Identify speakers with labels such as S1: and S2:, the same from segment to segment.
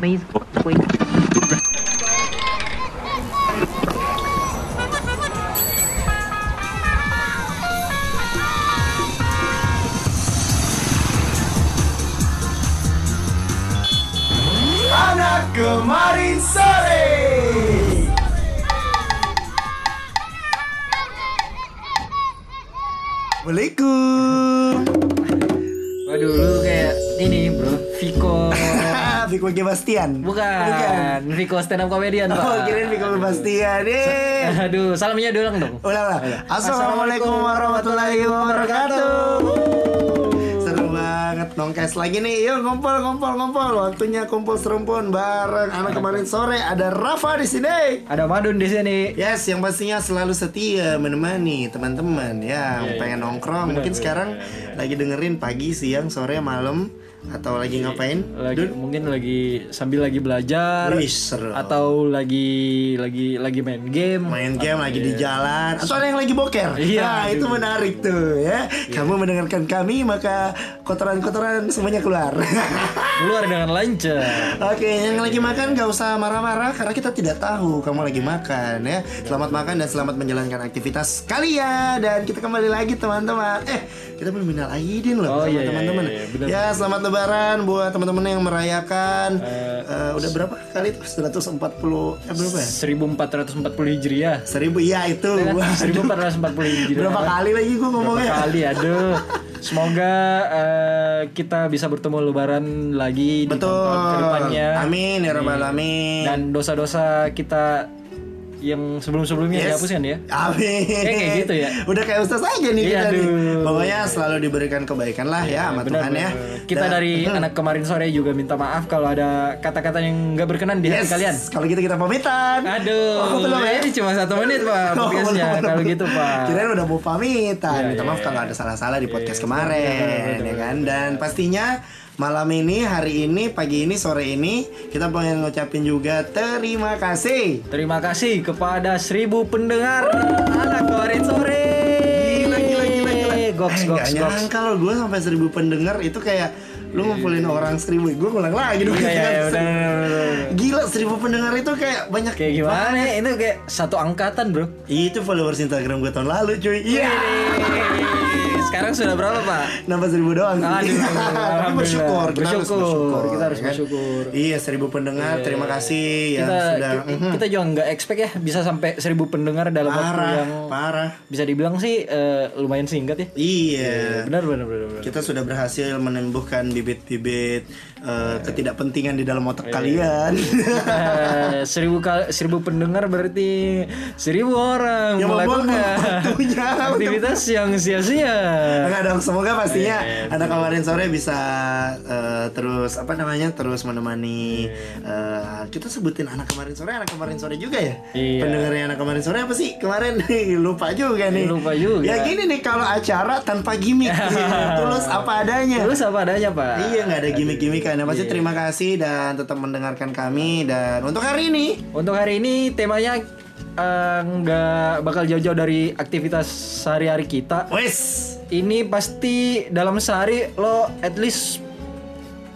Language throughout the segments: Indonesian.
S1: 没回。
S2: Anak kemarin sore. Assalamualaikum.
S3: Waduh lu kayak ini bro Viko
S2: Ah, Viko Gebastian.
S3: Bukan,
S2: Bukan.
S3: Viko stand up comedian
S2: Oh,
S3: pak
S2: kirain Viko Gebastian. Eh.
S3: Aduh salamnya doang dong
S2: Ulang ulang. Assalamualaikum warahmatullahi wabarakatuh. Seru banget nongkes lagi nih. Yuk ngumpul ngumpul ngumpul. Waktunya kumpul serumpun bareng anak kemarin sore ada Rafa di sini.
S3: Ada Madun di sini
S2: Yes, yang pastinya selalu setia menemani teman-teman
S3: Iya,
S2: ya, pengen nongkrong. Mungkin sekarang lagi dengerin pagi, siang, sore, malam atau lagi
S3: Iya,
S2: ngapain?
S3: lagi, mungkin lagi sambil lagi belajar
S2: Wih, seru.
S3: atau lagi lagi lagi main game
S2: main game lagi di jalan atau ada yang lagi boker nah
S3: Iya, aduh. Iya.
S2: itu menarik tuh ya kamu mendengarkan kami maka kotoran-kotoran semuanya keluar
S3: keluar dengan lancar
S2: Oke, yang lagi makan gak usah marah-marah karena kita tidak tahu kamu lagi makan ya. Selamat makan dan selamat menjalankan aktivitas kalian dan kita kembali lagi teman-teman. Eh, kita belum minal aidin loh
S3: Oh,
S2: sama
S3: iya, iya,
S2: teman-teman.
S3: iya, iya, benar.
S2: ya, selamat lebaran buat teman-teman yang merayakan. Eh, udah berapa kali tuh? 140 eh berapa ya?
S3: 1440 Hijriah
S2: Seribu ya itu. Waduh.
S3: 1440 Hijriah
S2: Berapa kali lagi gue
S3: Berapa
S2: ngomongnya?
S3: kali aduh Semoga eh, kita bisa bertemu lebaran lagi di
S2: Betul.
S3: tahun-tahun kedepannya
S2: Amin ya rabbal alamin.
S3: Iya. dan dosa-dosa kita yang sebelum-sebelumnya
S2: Yes.
S3: dihapuskan ya.
S2: Amin.
S3: Kayak- kayak gitu ya.
S2: Udah kayak ustaz aja nih
S3: Iya,
S2: kita nih.
S3: aduh. Iya,
S2: Pokoknya selalu diberikan kebaikan lah ya sama Tuhan ya. Dan-
S3: Kita
S2: Hmm.
S3: dari anak kemarin sore juga minta maaf kalau ada kata-kata yang nggak berkenan di hati
S2: Yes,
S3: kalian.
S2: Kalau gitu kita pamitan.
S3: Aduh,
S2: Oh, belum ya?
S3: ini cuma satu menit pak
S2: Oh,
S3: podcastnya
S2: belum, belum.
S3: kalau gitu pak.
S2: Kirain udah mau pamitan.
S3: Iya,
S2: Minta
S3: iya,
S2: maaf
S3: iya.
S2: kalau ada salah-salah di podcast
S3: Iya,
S2: kemarin
S3: betul,
S2: ya
S3: betul,
S2: kan.
S3: betul.
S2: Dan pastinya malam ini, hari ini, pagi ini, sore ini kita pengen ngucapin juga terima kasih.
S3: Terima kasih kepada seribu pendengar anak kemarin sore.
S2: Gila gila gila gila.
S3: Goks
S2: Eh,
S3: goks
S2: nggak
S3: goks.
S2: nyangka loh gue sampai seribu pendengar itu kayak lu ngumpulin orang seribu. Gue ngulang lagi dong.
S3: Iya, iya,
S2: Seribu.
S3: bener, bener, bener.
S2: Gila seribu pendengar itu kayak banyak.
S3: Kayak gimana? ya? Ini kayak satu angkatan bro.
S2: Itu followers Instagram gue tahun lalu cuy. Iya.
S3: Sekarang sudah berapa pak?
S2: Nambah seribu doang.
S3: Aduh,
S2: Tapi
S3: Ah, iya. alhamdulillah.
S2: bersyukur, kita harus
S3: Bersyukur,
S2: bersyukur,
S3: kita harus
S2: ya kan?
S3: bersyukur.
S2: Iya, seribu pendengar, terima kasih yang
S3: kita,
S2: sudah mhm,
S3: ki- kita juga nggak expect ya bisa sampai seribu pendengar dalam waktu
S2: parah,
S3: yang
S2: parah.
S3: bisa dibilang sih eh, lumayan singkat ya.
S2: Iya,
S3: Benar benar benar. benar.
S2: kita sudah berhasil menumbuhkan bibit-bibit
S3: Iya.
S2: eh, ketidakpentingan di dalam otak kalian.
S3: Eh, seribu kali seribu pendengar berarti seribu orang
S2: Yang membuang
S3: melakukan
S2: Ya, waktunya untuk-
S3: aktivitas yang sia-sia.
S2: Enggak dong, semoga pastinya
S3: Iya,
S2: anak kemarin sore bisa eh, terus apa namanya terus menemani eh, kita sebutin anak kemarin sore, anak kemarin sore juga ya.
S3: Iya.
S2: Pendengarnya anak kemarin sore apa sih kemarin nih lupa juga nih.
S3: Iya, Lupa juga.
S2: Ya gini nih kalau acara tanpa gimmick, tulus apa adanya.
S3: Terus apa adanya pak?
S2: Iya nggak ada gimmick-gimmickan. Yang
S3: Iya.
S2: pasti terima kasih dan tetap mendengarkan kami dan untuk hari ini
S3: Untuk hari ini temanya eh, nggak bakal jauh-jauh dari aktivitas sehari-hari kita.
S2: wes
S3: Ini pasti dalam sehari lo at least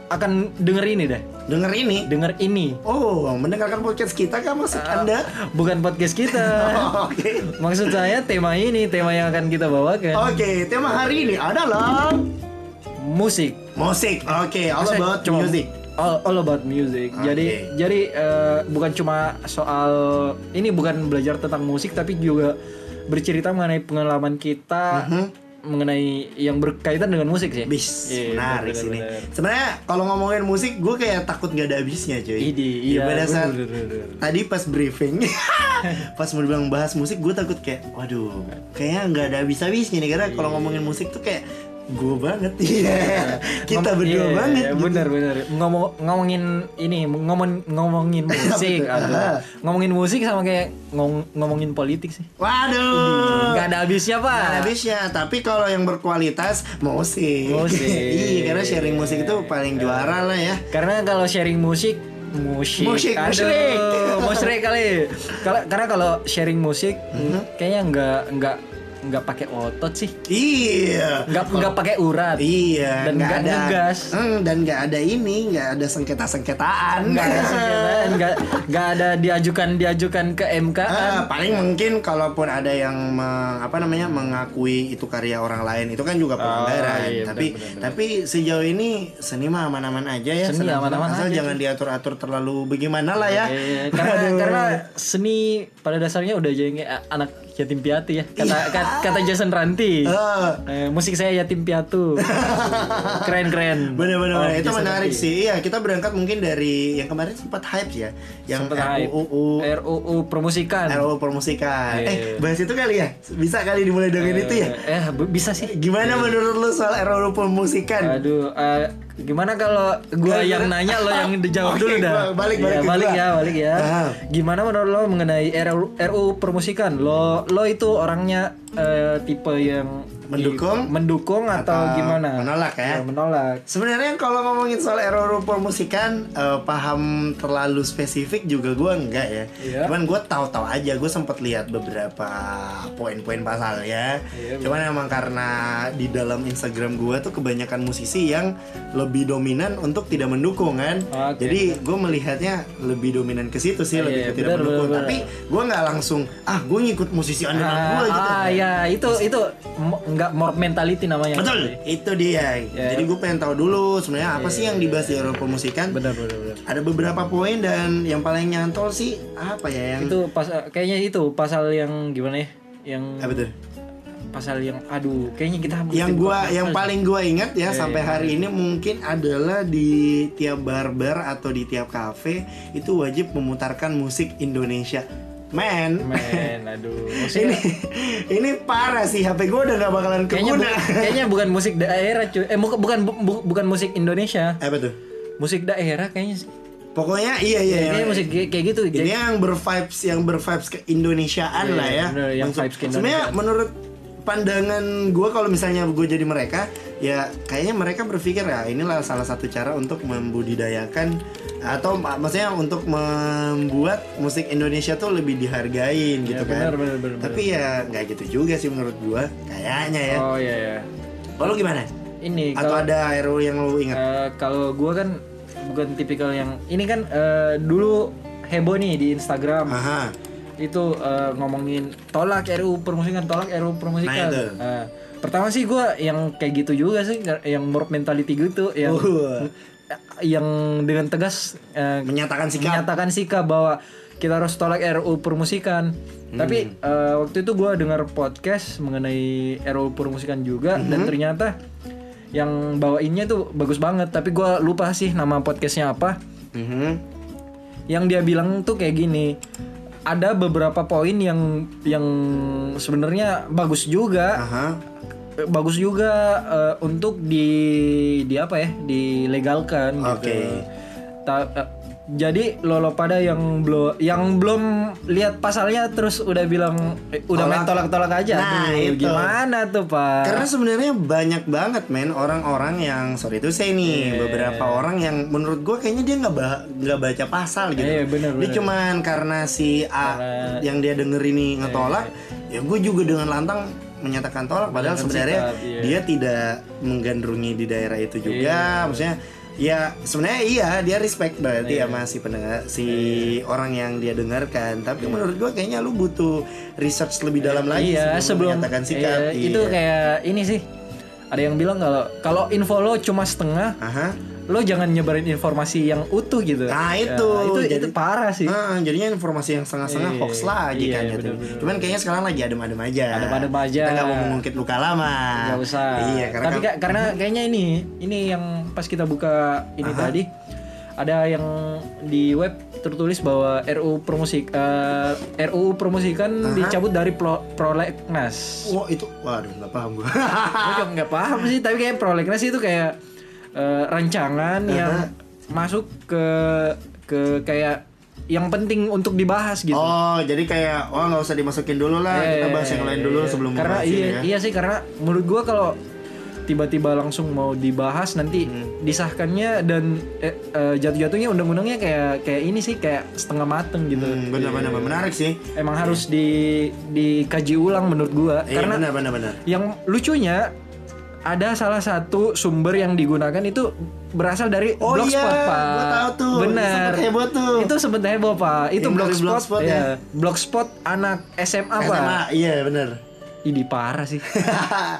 S3: akan denger ini deh.
S2: denger ini.
S3: Denger ini.
S2: Oh, mendengarkan podcast kita kan maksud
S3: Ah.
S2: Anda?
S3: Bukan podcast kita.
S2: Oh, Oke.
S3: Maksud saya tema ini, tema yang akan kita bawakan.
S2: Oke, tema hari ini adalah
S3: Musik.
S2: musik. Oke, all
S3: Saya
S2: about
S3: cuma-
S2: music.
S3: All, all about music.
S2: Oke.
S3: Jadi jadi eh, bukan cuma soal ini bukan belajar tentang musik tapi juga bercerita mengenai pengalaman kita
S2: Mm-hmm.
S3: mengenai yang berkaitan dengan musik sih.
S2: Bis,
S3: Iya,
S2: menarik
S3: bener,
S2: sini.
S3: bener.
S2: Sebenarnya kalau ngomongin musik, gue kayak takut gak ada habisnya, cuy.
S3: Idi,
S2: Ya,
S3: iya,
S2: pada
S3: bener,
S2: saat
S3: bener, bener.
S2: tadi pas briefing, pas mau bilang bahas musik, gue takut kayak, waduh, kayaknya nggak ada habis-habisnya nih karena
S3: Iya.
S2: kalau ngomongin musik tuh kayak gue banget, iya. Kita
S3: Ngom-
S2: berdua
S3: iya,
S2: banget.
S3: iya,
S2: gitu.
S3: bener bener ngomong ngomongin ini ngomong ngomongin musik aduh. ngomongin musik sama kayak ngom- ngomongin politik sih
S2: Waduh.
S3: nggak ada habisnya pak
S2: Nah, habisnya tapi kalau yang berkualitas musik,
S3: Musik.
S2: iya karena sharing musik itu paling juara lah ya
S3: karena kalau sharing musik musik
S2: Musik,
S3: aduh,
S2: musyrik. Mhm.
S3: musyrik kali kalau karena kalau sharing musik kayaknya nggak nggak nggak pakai otot sih
S2: Iya.
S3: nggak nggak pakai urat
S2: Iya.
S3: Dan
S2: nggak
S3: nggak ngegas.
S2: Hmm, dan nggak ada ini, nggak ada sengketa-sengketaan. Ah,
S3: nggak ada sengketa, nggak nggak ada diajukan diajukan ke MK
S2: Ah, paling mungkin kalaupun ada yang meng- apa namanya mengakui itu karya orang lain itu kan juga pelanggaran.
S3: iya, benar,
S2: tapi
S3: benar, benar.
S2: tapi sejauh ini seni mah aman-aman aja ya.
S3: Seni
S2: senang-
S3: aman-aman
S2: asal
S3: aja.
S2: jangan diatur-atur terlalu bagaimana lah ya.
S3: Iya, karena
S2: Aduh.
S3: karena seni pada dasarnya udah jadi anak yatim piatu ya kata ka- kata Jason Ranti
S2: Iya. Eh,
S3: Eh, musik saya yatim piatu keren keren
S2: Bener-bener
S3: Oh,
S2: Hmm. itu
S3: Jason
S2: menarik
S3: Ranti.
S2: sih. Iya kita berangkat mungkin dari yang kemarin sempat hype ya, yang
S3: Sempet hype.
S2: RUU
S3: RUU permusikan
S2: RUU permusikan.
S3: Iya,
S2: Eh
S3: iya.
S2: bahas itu kali ya, bisa kali dimulai dengan itu ya.
S3: eh bu- bisa sih
S2: Gimana menurut lu soal RUU permusikan?
S3: Aduh, eh, gimana kalau gua yang nanya lo yang dijawab
S2: Eh, Oke,
S3: dulu dah.
S2: gua balik-
S3: Iya,
S2: balik ke
S3: balik
S2: gua.
S3: ya, balik ya.
S2: Ah.
S3: Gimana menurut lo mengenai RU, permusikan? Lo lo itu orangnya eh, tipe yang
S2: Mendukung?
S3: mendukung atau,
S2: Atau
S3: gimana? Iya,
S2: menolak ya?
S3: menolak.
S2: Sebenarnya kalau ngomongin soal error permusikan eh, paham terlalu spesifik juga gua enggak ya.
S3: Iya.
S2: Cuman gua tahu-tahu aja gue sempat lihat beberapa poin-poin pasalnya.
S3: Iya,
S2: Cuman emang karena di dalam Instagram gua tuh kebanyakan musisi yang lebih dominan untuk tidak mendukung kan.
S3: Oke,
S2: Jadi gue melihatnya lebih dominan ke situ sih
S3: Iya,
S2: lebih ke tidak
S3: benar,
S2: mendukung.
S3: benar,
S2: Tapi gue nggak langsung ah gue ngikut musisi andalan
S3: Ah,
S2: gue gitu.
S3: ah, ya itu itu mo- nggak more mentality namanya.
S2: Betul, itu dia.
S3: Ya.
S2: Jadi gue pengen tahu dulu sebenarnya apa sih yang dibahas di Euro Permusikan.
S3: Iya, Benar, benar, benar.
S2: Ada beberapa poin dan yang paling nyantol sih apa ya yang
S3: Itu pas kayaknya itu pasal yang gimana ya? Yang
S2: apa tuh?
S3: pasal yang aduh, kayaknya kita mesti
S2: Yang gua
S3: buka
S2: yang
S3: pasal.
S2: paling gua ingat ya
S3: Ya,
S2: sampai
S3: ya,
S2: hari ini mungkin adalah di tiap barber atau di tiap kafe itu wajib memutarkan musik Indonesia. Man,
S3: Men, aduh.
S2: ini
S3: Maksudnya,
S2: ini parah sih HP gua udah gak bakalan
S3: kayaknya,
S2: keguna.
S3: bu- kayaknya bukan musik daerah cuy. Eh bukan bukan bu- bukan musik Indonesia.
S2: Apa tuh?
S3: Musik daerah kayaknya sih.
S2: Pokoknya iya iya.
S3: Kayaknya
S2: yang-
S3: musik kayak kayak gitu.
S2: Ini
S3: Kayak-
S2: yang bervibes yang bervibes keindonesiaan
S3: Iya,
S2: lah ya.
S3: bener, yang
S2: Maksud-
S3: vibes keindonesiaan.
S2: Sebenarnya menurut pandangan gue kalau misalnya gue jadi mereka, ya kayaknya mereka berpikir ya inilah salah satu cara untuk membudidayakan atau mak- maksudnya untuk membuat musik Indonesia tuh lebih dihargain
S3: Ya,
S2: gitu
S3: benar,
S2: kan.
S3: benar, benar,
S2: Tapi ya nggak gitu juga sih menurut gue, kayaknya ya.
S3: Oh iya ya.
S2: Lalu gimana?
S3: Ini
S2: Atau
S3: kalau
S2: ada RU yang lu ingat?
S3: eh, kalau gua kan bukan tipikal yang ini kan eh, dulu heboh nih di Instagram.
S2: Aha.
S3: itu eh, ngomongin tolak RUU permusikan tolak RUU
S2: Nah,
S3: permusikan
S2: itu.
S3: Eh, pertama sih gue yang kayak gitu juga sih yang mob mentality gitu yang
S2: Uh.
S3: yang dengan tegas eh,
S2: Menyatakan sikap.
S3: menyatakan sikap bahwa kita harus tolak RUU permusikan tapi eh, waktu itu gue dengar podcast mengenai RUU permusikan juga dan ternyata yang bawainnya tuh bagus banget tapi gue lupa sih nama podcastnya apa
S2: Mhm.
S3: yang dia bilang tuh kayak gini ada beberapa poin yang yang sebenarnya bagus juga
S2: Aha.
S3: Eh, bagus juga eh, untuk di di apa ya dilegalkan
S2: Oke.
S3: gitu Ta- eh, jadi lolo pada yang belum yang belum lihat pasalnya terus udah bilang eh, udah main
S2: Tolak.
S3: tolak-tolak aja
S2: Nah,
S3: Aduh,
S2: itu.
S3: gimana tuh pak
S2: Karena sebenarnya banyak banget men orang-orang yang sorry itu
S3: Iya,
S2: saya nih beberapa orang yang menurut gue kayaknya dia nggak ba- nggak baca pasal gitu.
S3: Iya, bener,
S2: dia
S3: bener.
S2: cuman karena si A
S3: Karena- Iya,
S2: yang dia denger ini ngetolak, ya gue juga dengan lantang menyatakan tolak padahal
S3: Menyatakan
S2: sebenarnya
S3: sikap, iya.
S2: dia tidak menggandrungi di daerah itu juga. Maksudnya ya sebenarnya iya dia respect
S3: Iya.
S2: berarti ya sama si pendengar si orang yang dia dengarkan. Tapi menurut gue kayaknya lu butuh research lebih dalam lagi
S3: iya sebelum
S2: menyatakan sikap.
S3: iya, itu
S2: Iya.
S3: kayak ini sih ada yang bilang kalau kalau info lo cuma setengah
S2: Aha.
S3: lo jangan nyebarin informasi yang utuh gitu.
S2: Nah, itu.
S3: Ya, itu itu
S2: Jadi-
S3: parah sih.
S2: Ah, jadinya informasi yang setengah-setengah
S3: Iya,
S2: hoax lagi
S3: iya,
S2: kan
S3: iya,
S2: gitu.
S3: bener-bener.
S2: Cuman kayaknya sekarang lagi adem-adem aja.
S3: Adem-adem aja.
S2: Kita nggak mau mengungkit luka lama.
S3: Gak usah.
S2: Iya, karena
S3: Tapi
S2: kan-
S3: ka- karena kayaknya ini ini yang pas kita buka ini tadi ada yang di web tertulis bahwa RUU permusik eh, RUU permusikan dicabut dari pro- prolegnas.
S2: wah itu waduh nggak paham gua.
S3: Gue juga nggak paham sih, tapi kayak prolegnas itu kayak eh, rancangan yang masuk ke ke kayak yang penting untuk dibahas gitu.
S2: oh, jadi kayak oh nggak
S3: Iya,
S2: usah dimasukin dulu lah. kita bahas yang lain dulu sebelum
S3: karena
S2: membahas
S3: iya,
S2: ini ya.
S3: iya sih karena menurut gua kalau tiba-tiba langsung mau dibahas nanti
S2: Hmm.
S3: disahkannya dan eh, eh, jatuh-jatuhnya undang-undangnya kayak kayak ini sih kayak setengah mateng gitu.
S2: Hmm, benar-benar menarik sih.
S3: Emang harus di dikaji ulang menurut gua
S2: Iya,
S3: karena
S2: benar-benar.
S3: yang lucunya ada salah satu sumber yang digunakan itu berasal dari
S2: Oh
S3: blogspot
S2: iya,
S3: pak.
S2: gua tahu tuh.
S3: Benar.
S2: Sempet heboh tuh.
S3: Itu sempet heboh pak.
S2: Yang
S3: Itu
S2: dari
S3: blogspot.
S2: Blogspot
S3: ya.
S2: ya.
S3: Blogspot anak SMA,
S2: SMA,
S3: pak.
S2: iya benar.
S3: Ini parah sih.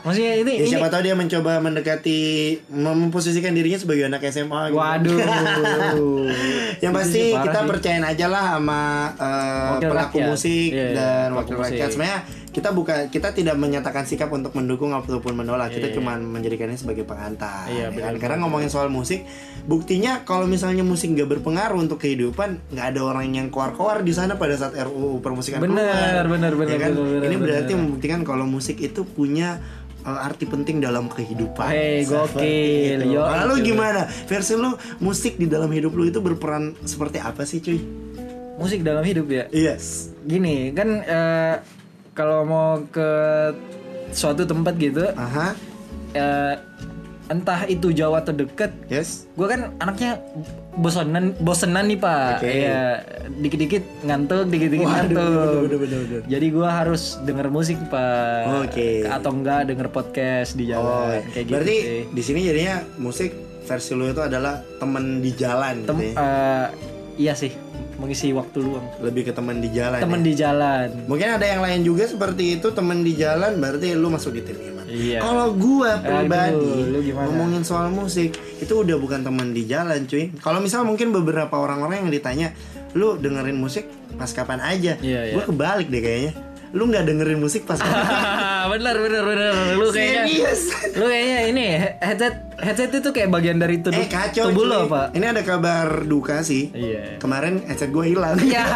S3: Maksudnya ini
S2: Ya,
S3: ini.
S2: siapa tahu dia mencoba mendekati mem- memposisikan dirinya sebagai anak SMA gitu.
S3: Waduh.
S2: Yang
S3: Ini
S2: pasti
S3: sih parah
S2: kita
S3: sih.
S2: percayain aja lah sama eh,
S3: Wakil
S2: pelaku
S3: rakyat.
S2: musik
S3: Iya,
S2: dan
S3: pelaku
S2: wakil rakyat.
S3: musik.
S2: Sebenarnya kita bukan kita tidak menyatakan sikap untuk mendukung ataupun menolak. Kita cuma menjadikannya sebagai pengantar. ya
S3: Iya,
S2: kan?
S3: benar,
S2: Karena ngomongin soal musik, buktinya kalau misalnya musik nggak berpengaruh untuk kehidupan, nggak ada orang yang koar-koar di sana pada saat RUU permusikan
S3: Benar,
S2: keluar.
S3: benar, benar,
S2: Ya kan?
S3: benar, benar,
S2: Ini berarti
S3: benar.
S2: membuktikan kan kalau musik itu punya eh, arti penting dalam kehidupan.
S3: Hei,
S2: Seperti
S3: gokil.
S2: itu.
S3: Yo,
S2: Lalu
S3: itu.
S2: gimana? Versi lu musik di dalam hidup lu itu berperan seperti apa sih, cuy?
S3: Musik dalam hidup ya.
S2: Yes.
S3: Gini kan eh, kalau mau ke suatu tempat gitu,
S2: Aha.
S3: eh, entah itu Jawa terdekat
S2: Yes.
S3: gue kan anaknya bosenan bosenan nih pak
S2: Oke.
S3: Iya, dikit-dikit ngantuk dikit-dikit ngantuk
S2: bener, bener, bener.
S3: jadi gue harus denger musik pak
S2: Oke.
S3: atau enggak denger podcast di jalan
S2: Oh,
S3: kayak gitu
S2: berarti
S3: sih.
S2: di sini jadinya musik versi lu itu adalah temen di jalan
S3: Tem-
S2: gitu ya.
S3: eh, iya sih mengisi waktu luang
S2: Lebih ke temen di jalan. ya.
S3: temen di jalan
S2: Mungkin ada yang lain juga seperti itu temen di jalan berarti lu masuk di tim Iman.
S3: Iya.
S2: Kalau gua
S3: Aduh,
S2: pribadi
S3: lu gimana?
S2: ngomongin soal musik itu udah bukan temen di jalan cuy. Kalau misal mungkin beberapa orang-orang yang ditanya lu dengerin musik pas kapan aja,
S3: Iya,
S2: gua kebalik deh kayaknya. Lu nggak dengerin musik pas kapan?
S3: bener bener bener lu kayaknya
S2: Serius.
S3: lu kayaknya ini headset headset itu kayak bagian dari tubuh
S2: Eh kacau
S3: tubuh
S2: cuy.
S3: lo pak
S2: Ini ada kabar duka sih.
S3: iya
S2: Kemarin headset gua hilang.
S3: iya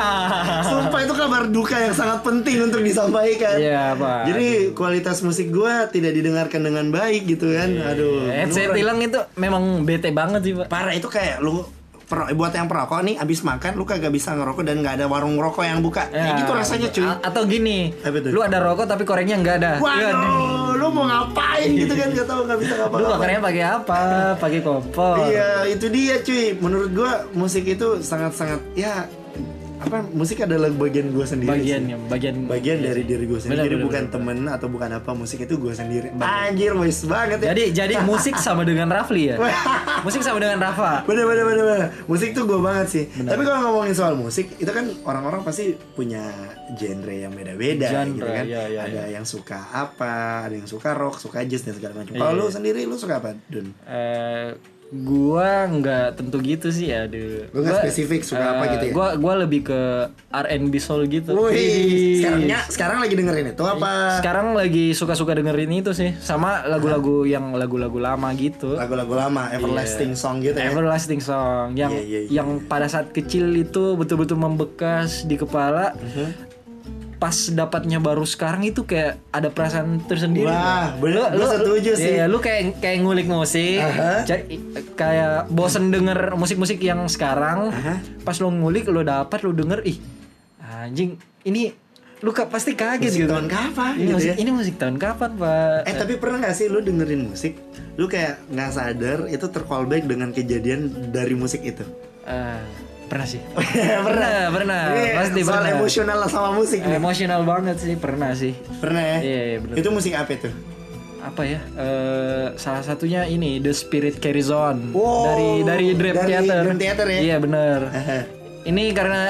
S2: Sumpah itu kabar duka yang sangat penting untuk disampaikan.
S3: iya pak
S2: Jadi kualitas musik gua tidak didengarkan dengan baik gitu kan.
S3: Iya,
S2: Aduh.
S3: Headset
S2: beneran.
S3: hilang itu memang bete banget sih pak.
S2: Parah itu kayak lu pro, buat yang perokok nih abis makan lu kagak bisa ngerokok dan nggak ada warung rokok yang buka.
S3: Iya.
S2: Kayak gitu rasanya cuy.
S3: Ya. A- atau gini,
S2: Apa tuh?
S3: lu ada rokok tapi korengnya nggak ada. Iya,
S2: Waduh, lu mau ngapain gitu kan gak tahu nggak bisa
S3: Lu
S2: ngapa-ngapain.
S3: korengnya pakai apa? Pakai kompor.
S2: Iya, itu dia cuy. Menurut gua musik itu sangat-sangat ya apa musik adalah bagian gua sendiri. sih.
S3: Bagiannya, bagian.
S2: bagian
S3: iya
S2: dari
S3: sih.
S2: diri gue sendiri
S3: Benar,
S2: jadi
S3: benar,
S2: bukan
S3: benar.
S2: temen atau bukan apa musik itu gue sendiri anjir wes banget ya
S3: Jadi jadi musik sama dengan Rafli ya. musik sama dengan Rafa.
S2: bener bener bener bener musik tuh gue banget sih tapi kalau ngomongin soal musik itu kan orang-orang pasti punya genre yang beda-beda
S3: Genre,
S2: gitu kan
S3: iya, iya,
S2: ada yang suka apa ada yang suka rock suka jazz dan segala macam
S3: Iya,
S2: kalau lu sendiri lu suka apa Dun
S3: Eh, gua nggak tentu gitu sih ya. Aduh. eh,
S2: Lu nggak spesifik suka apa gitu ya?
S3: Gua gua lebih ke R&B soul gitu.
S2: Wih,
S3: Wih.
S2: sekarangnya sekarang ya. lagi dengerin itu apa
S3: Sekarang lagi suka-suka dengerin itu sih, sama lagu-lagu yang lagu-lagu lama gitu.
S2: lagu-lagu lama everlasting song gitu ya
S3: Everlasting Song yang
S2: Iya, iya, iya.
S3: yang pada saat kecil itu betul-betul membekas di kepala.
S2: Mhm.
S3: Pas dapatnya baru sekarang itu kayak ada perasaan tersendiri.
S2: Wah, bener, gua setuju sih.
S3: Iya, lu kayak kayak ngulik musik,
S2: Aha.
S3: ca- kayak bosen denger musik-musik yang sekarang. Pas lu ngulik, lu dapat, lu denger, ih anjing, ini lu ka- pasti kaget
S2: Musik
S3: gitu.
S2: tahun kapan
S3: Ini,
S2: gitu
S3: musik,
S2: ya?
S3: ini musik tahun kapan, Pak?
S2: Eh tapi pernah gak sih lu dengerin musik Lu kayak gak sadar itu tercallback dengan kejadian dari musik itu
S3: Eh, pernah sih.
S2: Pernah
S3: pernah.
S2: Ini
S3: Pasti
S2: soal
S3: pernah.
S2: emosional lah sama musik nih
S3: Emosional banget sih, pernah sih.
S2: Pernah ya?
S3: Iya, iya, bener.
S2: Itu musik apa itu?
S3: Apa ya? eh, salah satunya ini The Spirit Carries On
S2: Wow,
S3: dari dari Dream
S2: dari
S3: Theater.
S2: Dream Theater ya?
S3: Iya, bener Ini karena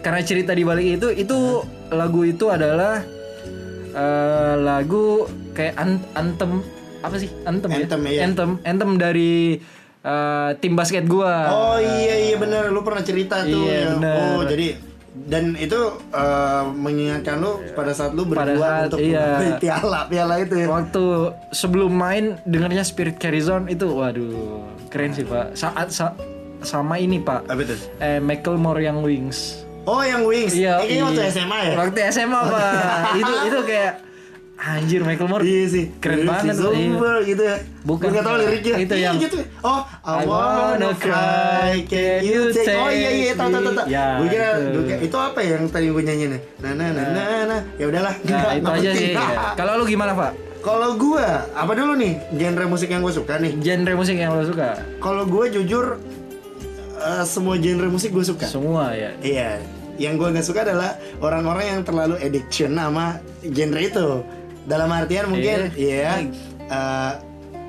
S3: karena cerita di balik itu itu lagu itu adalah eh, lagu kayak an- anthem apa sih? Anthem,
S2: Anthem,
S3: ya.
S2: iya.
S3: Anthem, anthem dari eh, tim basket gua.
S2: Oh iya iya bener lu pernah cerita tuh
S3: Iya,
S2: ya.
S3: bener.
S2: Oh jadi dan itu eh, mengingatkan lu pada saat lu
S3: Pada saat,
S2: berdua untuk
S3: iya.
S2: mengambil piala piala itu ya.
S3: waktu sebelum main dengarnya Spirit Carries On itu waduh keren sih pak saat sa- sama ini pak
S2: Apa itu?
S3: eh Macklemore yang Wings
S2: Oh yang Wings. Eh, kayaknya waktu
S3: iya.
S2: SMA ya.
S3: waktu SMA pak itu itu kayak anjir Macklemore
S2: Iya sih.
S3: keren
S2: Lyrics
S3: banget
S2: is
S3: iya.
S2: over gitu ya.
S3: Bukan.
S2: Gue gak tau liriknya.
S3: Itu
S2: Iya,
S3: yang-
S2: gitu. Oh, I,
S3: I
S2: wanna cry. Can you take? Oh iya iya, tau tau tau. tau.
S3: Ya,
S2: gue kira
S3: itu.
S2: gue kira- itu apa yang tadi gue nyanyiin ya? Nah nah nah nah. nah. Ya udahlah.
S3: nah
S2: nggak
S3: itu aja
S2: penting.
S3: sih ya. kalau lu gimana pak
S2: Kalau gua apa dulu nih genre musik yang gua suka nih?
S3: Genre musik yang lo suka?
S2: Kalau gua jujur eh, semua genre musik gua suka.
S3: Semua ya.
S2: Iya, yang gue nggak suka adalah orang-orang yang terlalu addiction sama genre itu. Dalam artian mungkin, iya, eh,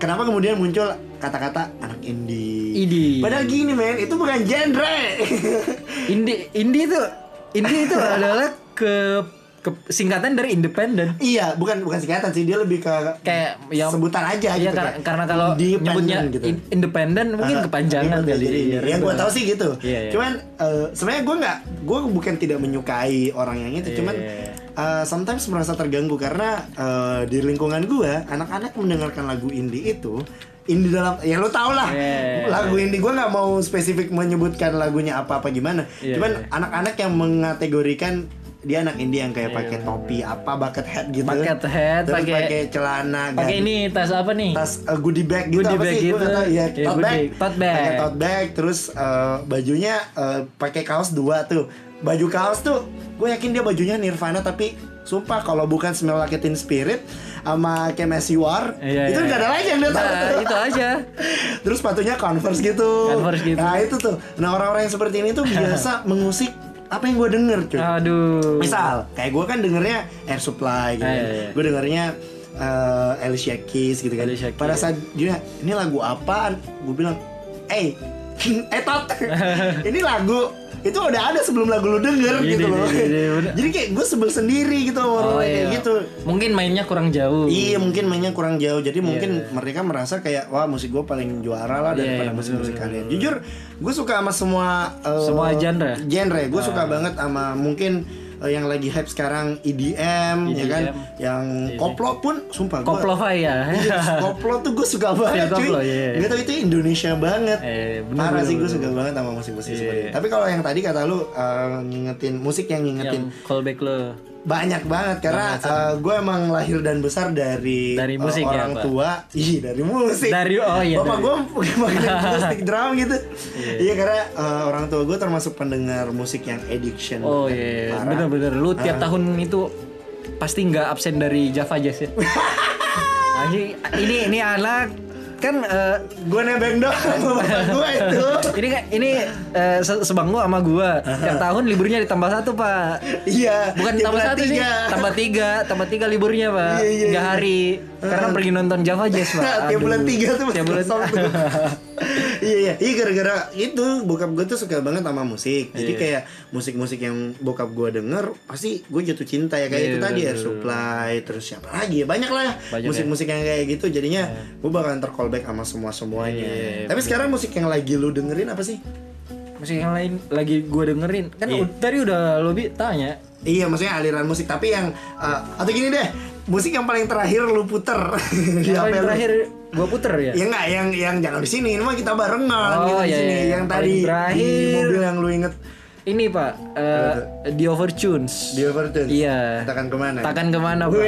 S2: kenapa kemudian muncul kata-kata anak indie?
S3: Indie.
S2: Padahal gini men, itu bukan genre.
S3: Indie indie itu indie itu adalah ke, ke- singkatan dari independen.
S2: iya, bukan bukan singkatan sih, dia lebih ke
S3: Kayak yang
S2: sebutan aja
S3: Iya,
S2: gitu.
S3: karena,
S2: kayak
S3: karena kalau
S2: independent
S3: nyebutnya
S2: gitu.
S3: in- independen mungkin
S2: Ah,
S3: kepanjangan
S2: iya,
S3: kali.
S2: jadi
S3: Iya,
S2: yang gue
S3: benar.
S2: tahu sih gitu
S3: Iya, iya.
S2: cuman eh, sebenarnya gue nggak gue bukan tidak menyukai orang yang itu
S3: Iya,
S2: cuman
S3: iya, iya.
S2: eh, sometimes merasa terganggu karena eh, di lingkungan gue anak-anak mendengarkan lagu indie itu indie dalam ya lo tau lah
S3: Iya, iya,
S2: lagu indie gue nggak mau spesifik menyebutkan lagunya apa apa gimana
S3: Iya,
S2: cuman
S3: iya.
S2: anak-anak yang mengategorikan dia anak indie yang kayak pakai topi apa bucket hat gitu
S3: iya, Bucket hat,
S2: terus
S3: pakai-
S2: pakai celana
S3: Pakai
S2: gan-
S3: ini tas apa nih?
S2: tas uh, goodie bag gitu
S3: Hmm.
S2: apa
S3: Goodie bag
S2: sih? Gua
S3: gitu.
S2: nggak tahu. Iya,
S3: Iya,
S2: tote
S3: goodie.
S2: bag.
S3: Tote bag.
S2: Pakai tote bag terus uh, bajunya uh, pakai kaos dua tuh. Baju kaos tuh gue yakin dia bajunya Nirvana tapi sumpah kalau bukan Smell Like Teen Spirit sama Came As You Are
S3: Iya,
S2: itu
S3: iya.
S2: nggak ada lagi yang dia tahu
S3: Nah,
S2: tuh.
S3: itu aja.
S2: terus sepatunya Converse gitu.
S3: Converse gitu.
S2: Nah itu tuh. Nah orang-orang yang seperti ini tuh biasa mengusik apa yang gue denger cuy.
S3: Ah, Aduh.
S2: Misal, kayak gue kan dengernya Air Supply gitu
S3: Ah,
S2: kan.
S3: Gitu. iya, iya.
S2: Gue dengernya eh, Alicia Keys gitu kan.
S3: Alicia Keys.
S2: Pada saat dia, ini lagu apaan? Gue bilang, eh, eh Tot, ini lagu itu udah ada sebelum lagu lu denger
S3: Iya,
S2: gitu
S3: iya,
S2: loh.
S3: iya, iya, bener.
S2: Jadi kayak gue sebel sendiri gitu sama orang
S3: Oh,
S2: kayak
S3: iya.
S2: gitu.
S3: Mungkin mainnya kurang jauh.
S2: Iya mungkin mainnya kurang jauh jadi mungkin mereka merasa kayak wah musik gue paling juara lah
S3: Iya,
S2: daripada
S3: iya,
S2: musik-musik
S3: betul,
S2: kalian. Jujur gue suka sama semua eh,
S3: Semua genre? Ah.
S2: Genre gue suka banget sama mungkin eh, yang lagi hype sekarang EDM, ya kan,
S3: EDM.
S2: yang koplo pun sumpah gue
S3: Koplova ya.
S2: Iya, koplo tuh gue suka banget cuy.
S3: koplo, iya, iya.
S2: Gak tau itu Indonesia banget.
S3: Eh, bener,
S2: Parah
S3: bener,
S2: sih gue
S3: bener.
S2: suka banget sama musik-musik
S3: Iya,
S2: seperti
S3: iya.
S2: itu. Tapi kalau yang tadi kata lu eh, ngingetin musik yang ngingetin
S3: Yang callback lo.
S2: banyak banget karena gue emang lahir dan besar dari, eh,
S3: Dari musik ya,
S2: orang
S3: Pak?
S2: tua ih dari musik
S3: Dari- oh iya,
S2: bapak
S3: dari-
S2: gue makan plastik drum gitu iya karena eh, orang tua gue termasuk pendengar musik yang addiction
S3: Oh iya,
S2: Parah.
S3: bener-bener lu tiap tahun itu pasti nggak absen dari Java Jazz ya. Anjing, ini ini anak kan eh,
S2: gue nebeng dong sama bapak gue itu
S3: ini kan ini eh, se- sebangku sama gua. Tiap tahun liburnya ditambah satu pak.
S2: iya
S3: Bukan
S2: dia
S3: tambah
S2: bilang
S3: satu sih,
S2: tiga.
S3: tambah tiga, tambah tiga liburnya pak.
S2: Iya, iya, iya.
S3: Tiga hari, karena pergi nonton Java Jazz pak.
S2: tiap
S3: Aduh.
S2: bulan tiga tuh
S3: Tiap
S2: masih
S3: bulan
S2: kosong tuh. iya iya iya gara-gara itu bokap gue tuh suka banget sama musik jadi
S3: Iya.
S2: kayak musik-musik yang bokap gue denger pasti gue jatuh cinta ya kayak
S3: Iya,
S2: itu tadi
S3: bener,
S2: Air
S3: bener.
S2: Supply terus siapa lagi ya banyak lah ya
S3: Banyak ya.
S2: musik-musik yang kayak gitu jadinya gue bakalan tercallback sama semua semuanya
S3: Iya, iya,
S2: tapi sekarang musik yang lagi lu dengerin apa sih
S3: Musik yang lain lagi gua dengerin kan
S2: Iya.
S3: ud- tadi udah lo bi tanya.
S2: Iya maksudnya aliran musik tapi yang eh, atau gini deh musik yang paling terakhir lu puter di
S3: Iya, Yang
S2: HP
S3: paling
S2: lu.
S3: terakhir gua puter ya.
S2: Ya enggak, yang yang jangan di sini, ini mah kita barengan
S3: Oh,
S2: gitu di
S3: iya,
S2: sini.
S3: iya.
S2: Yang
S3: Paling
S2: tadi di
S3: terakhir.
S2: mobil yang lu inget
S3: Ini pak, eh, The Overtunes.
S2: di Overton.
S3: Iya.
S2: Kita akan kemana?
S3: Takkan kemana pak?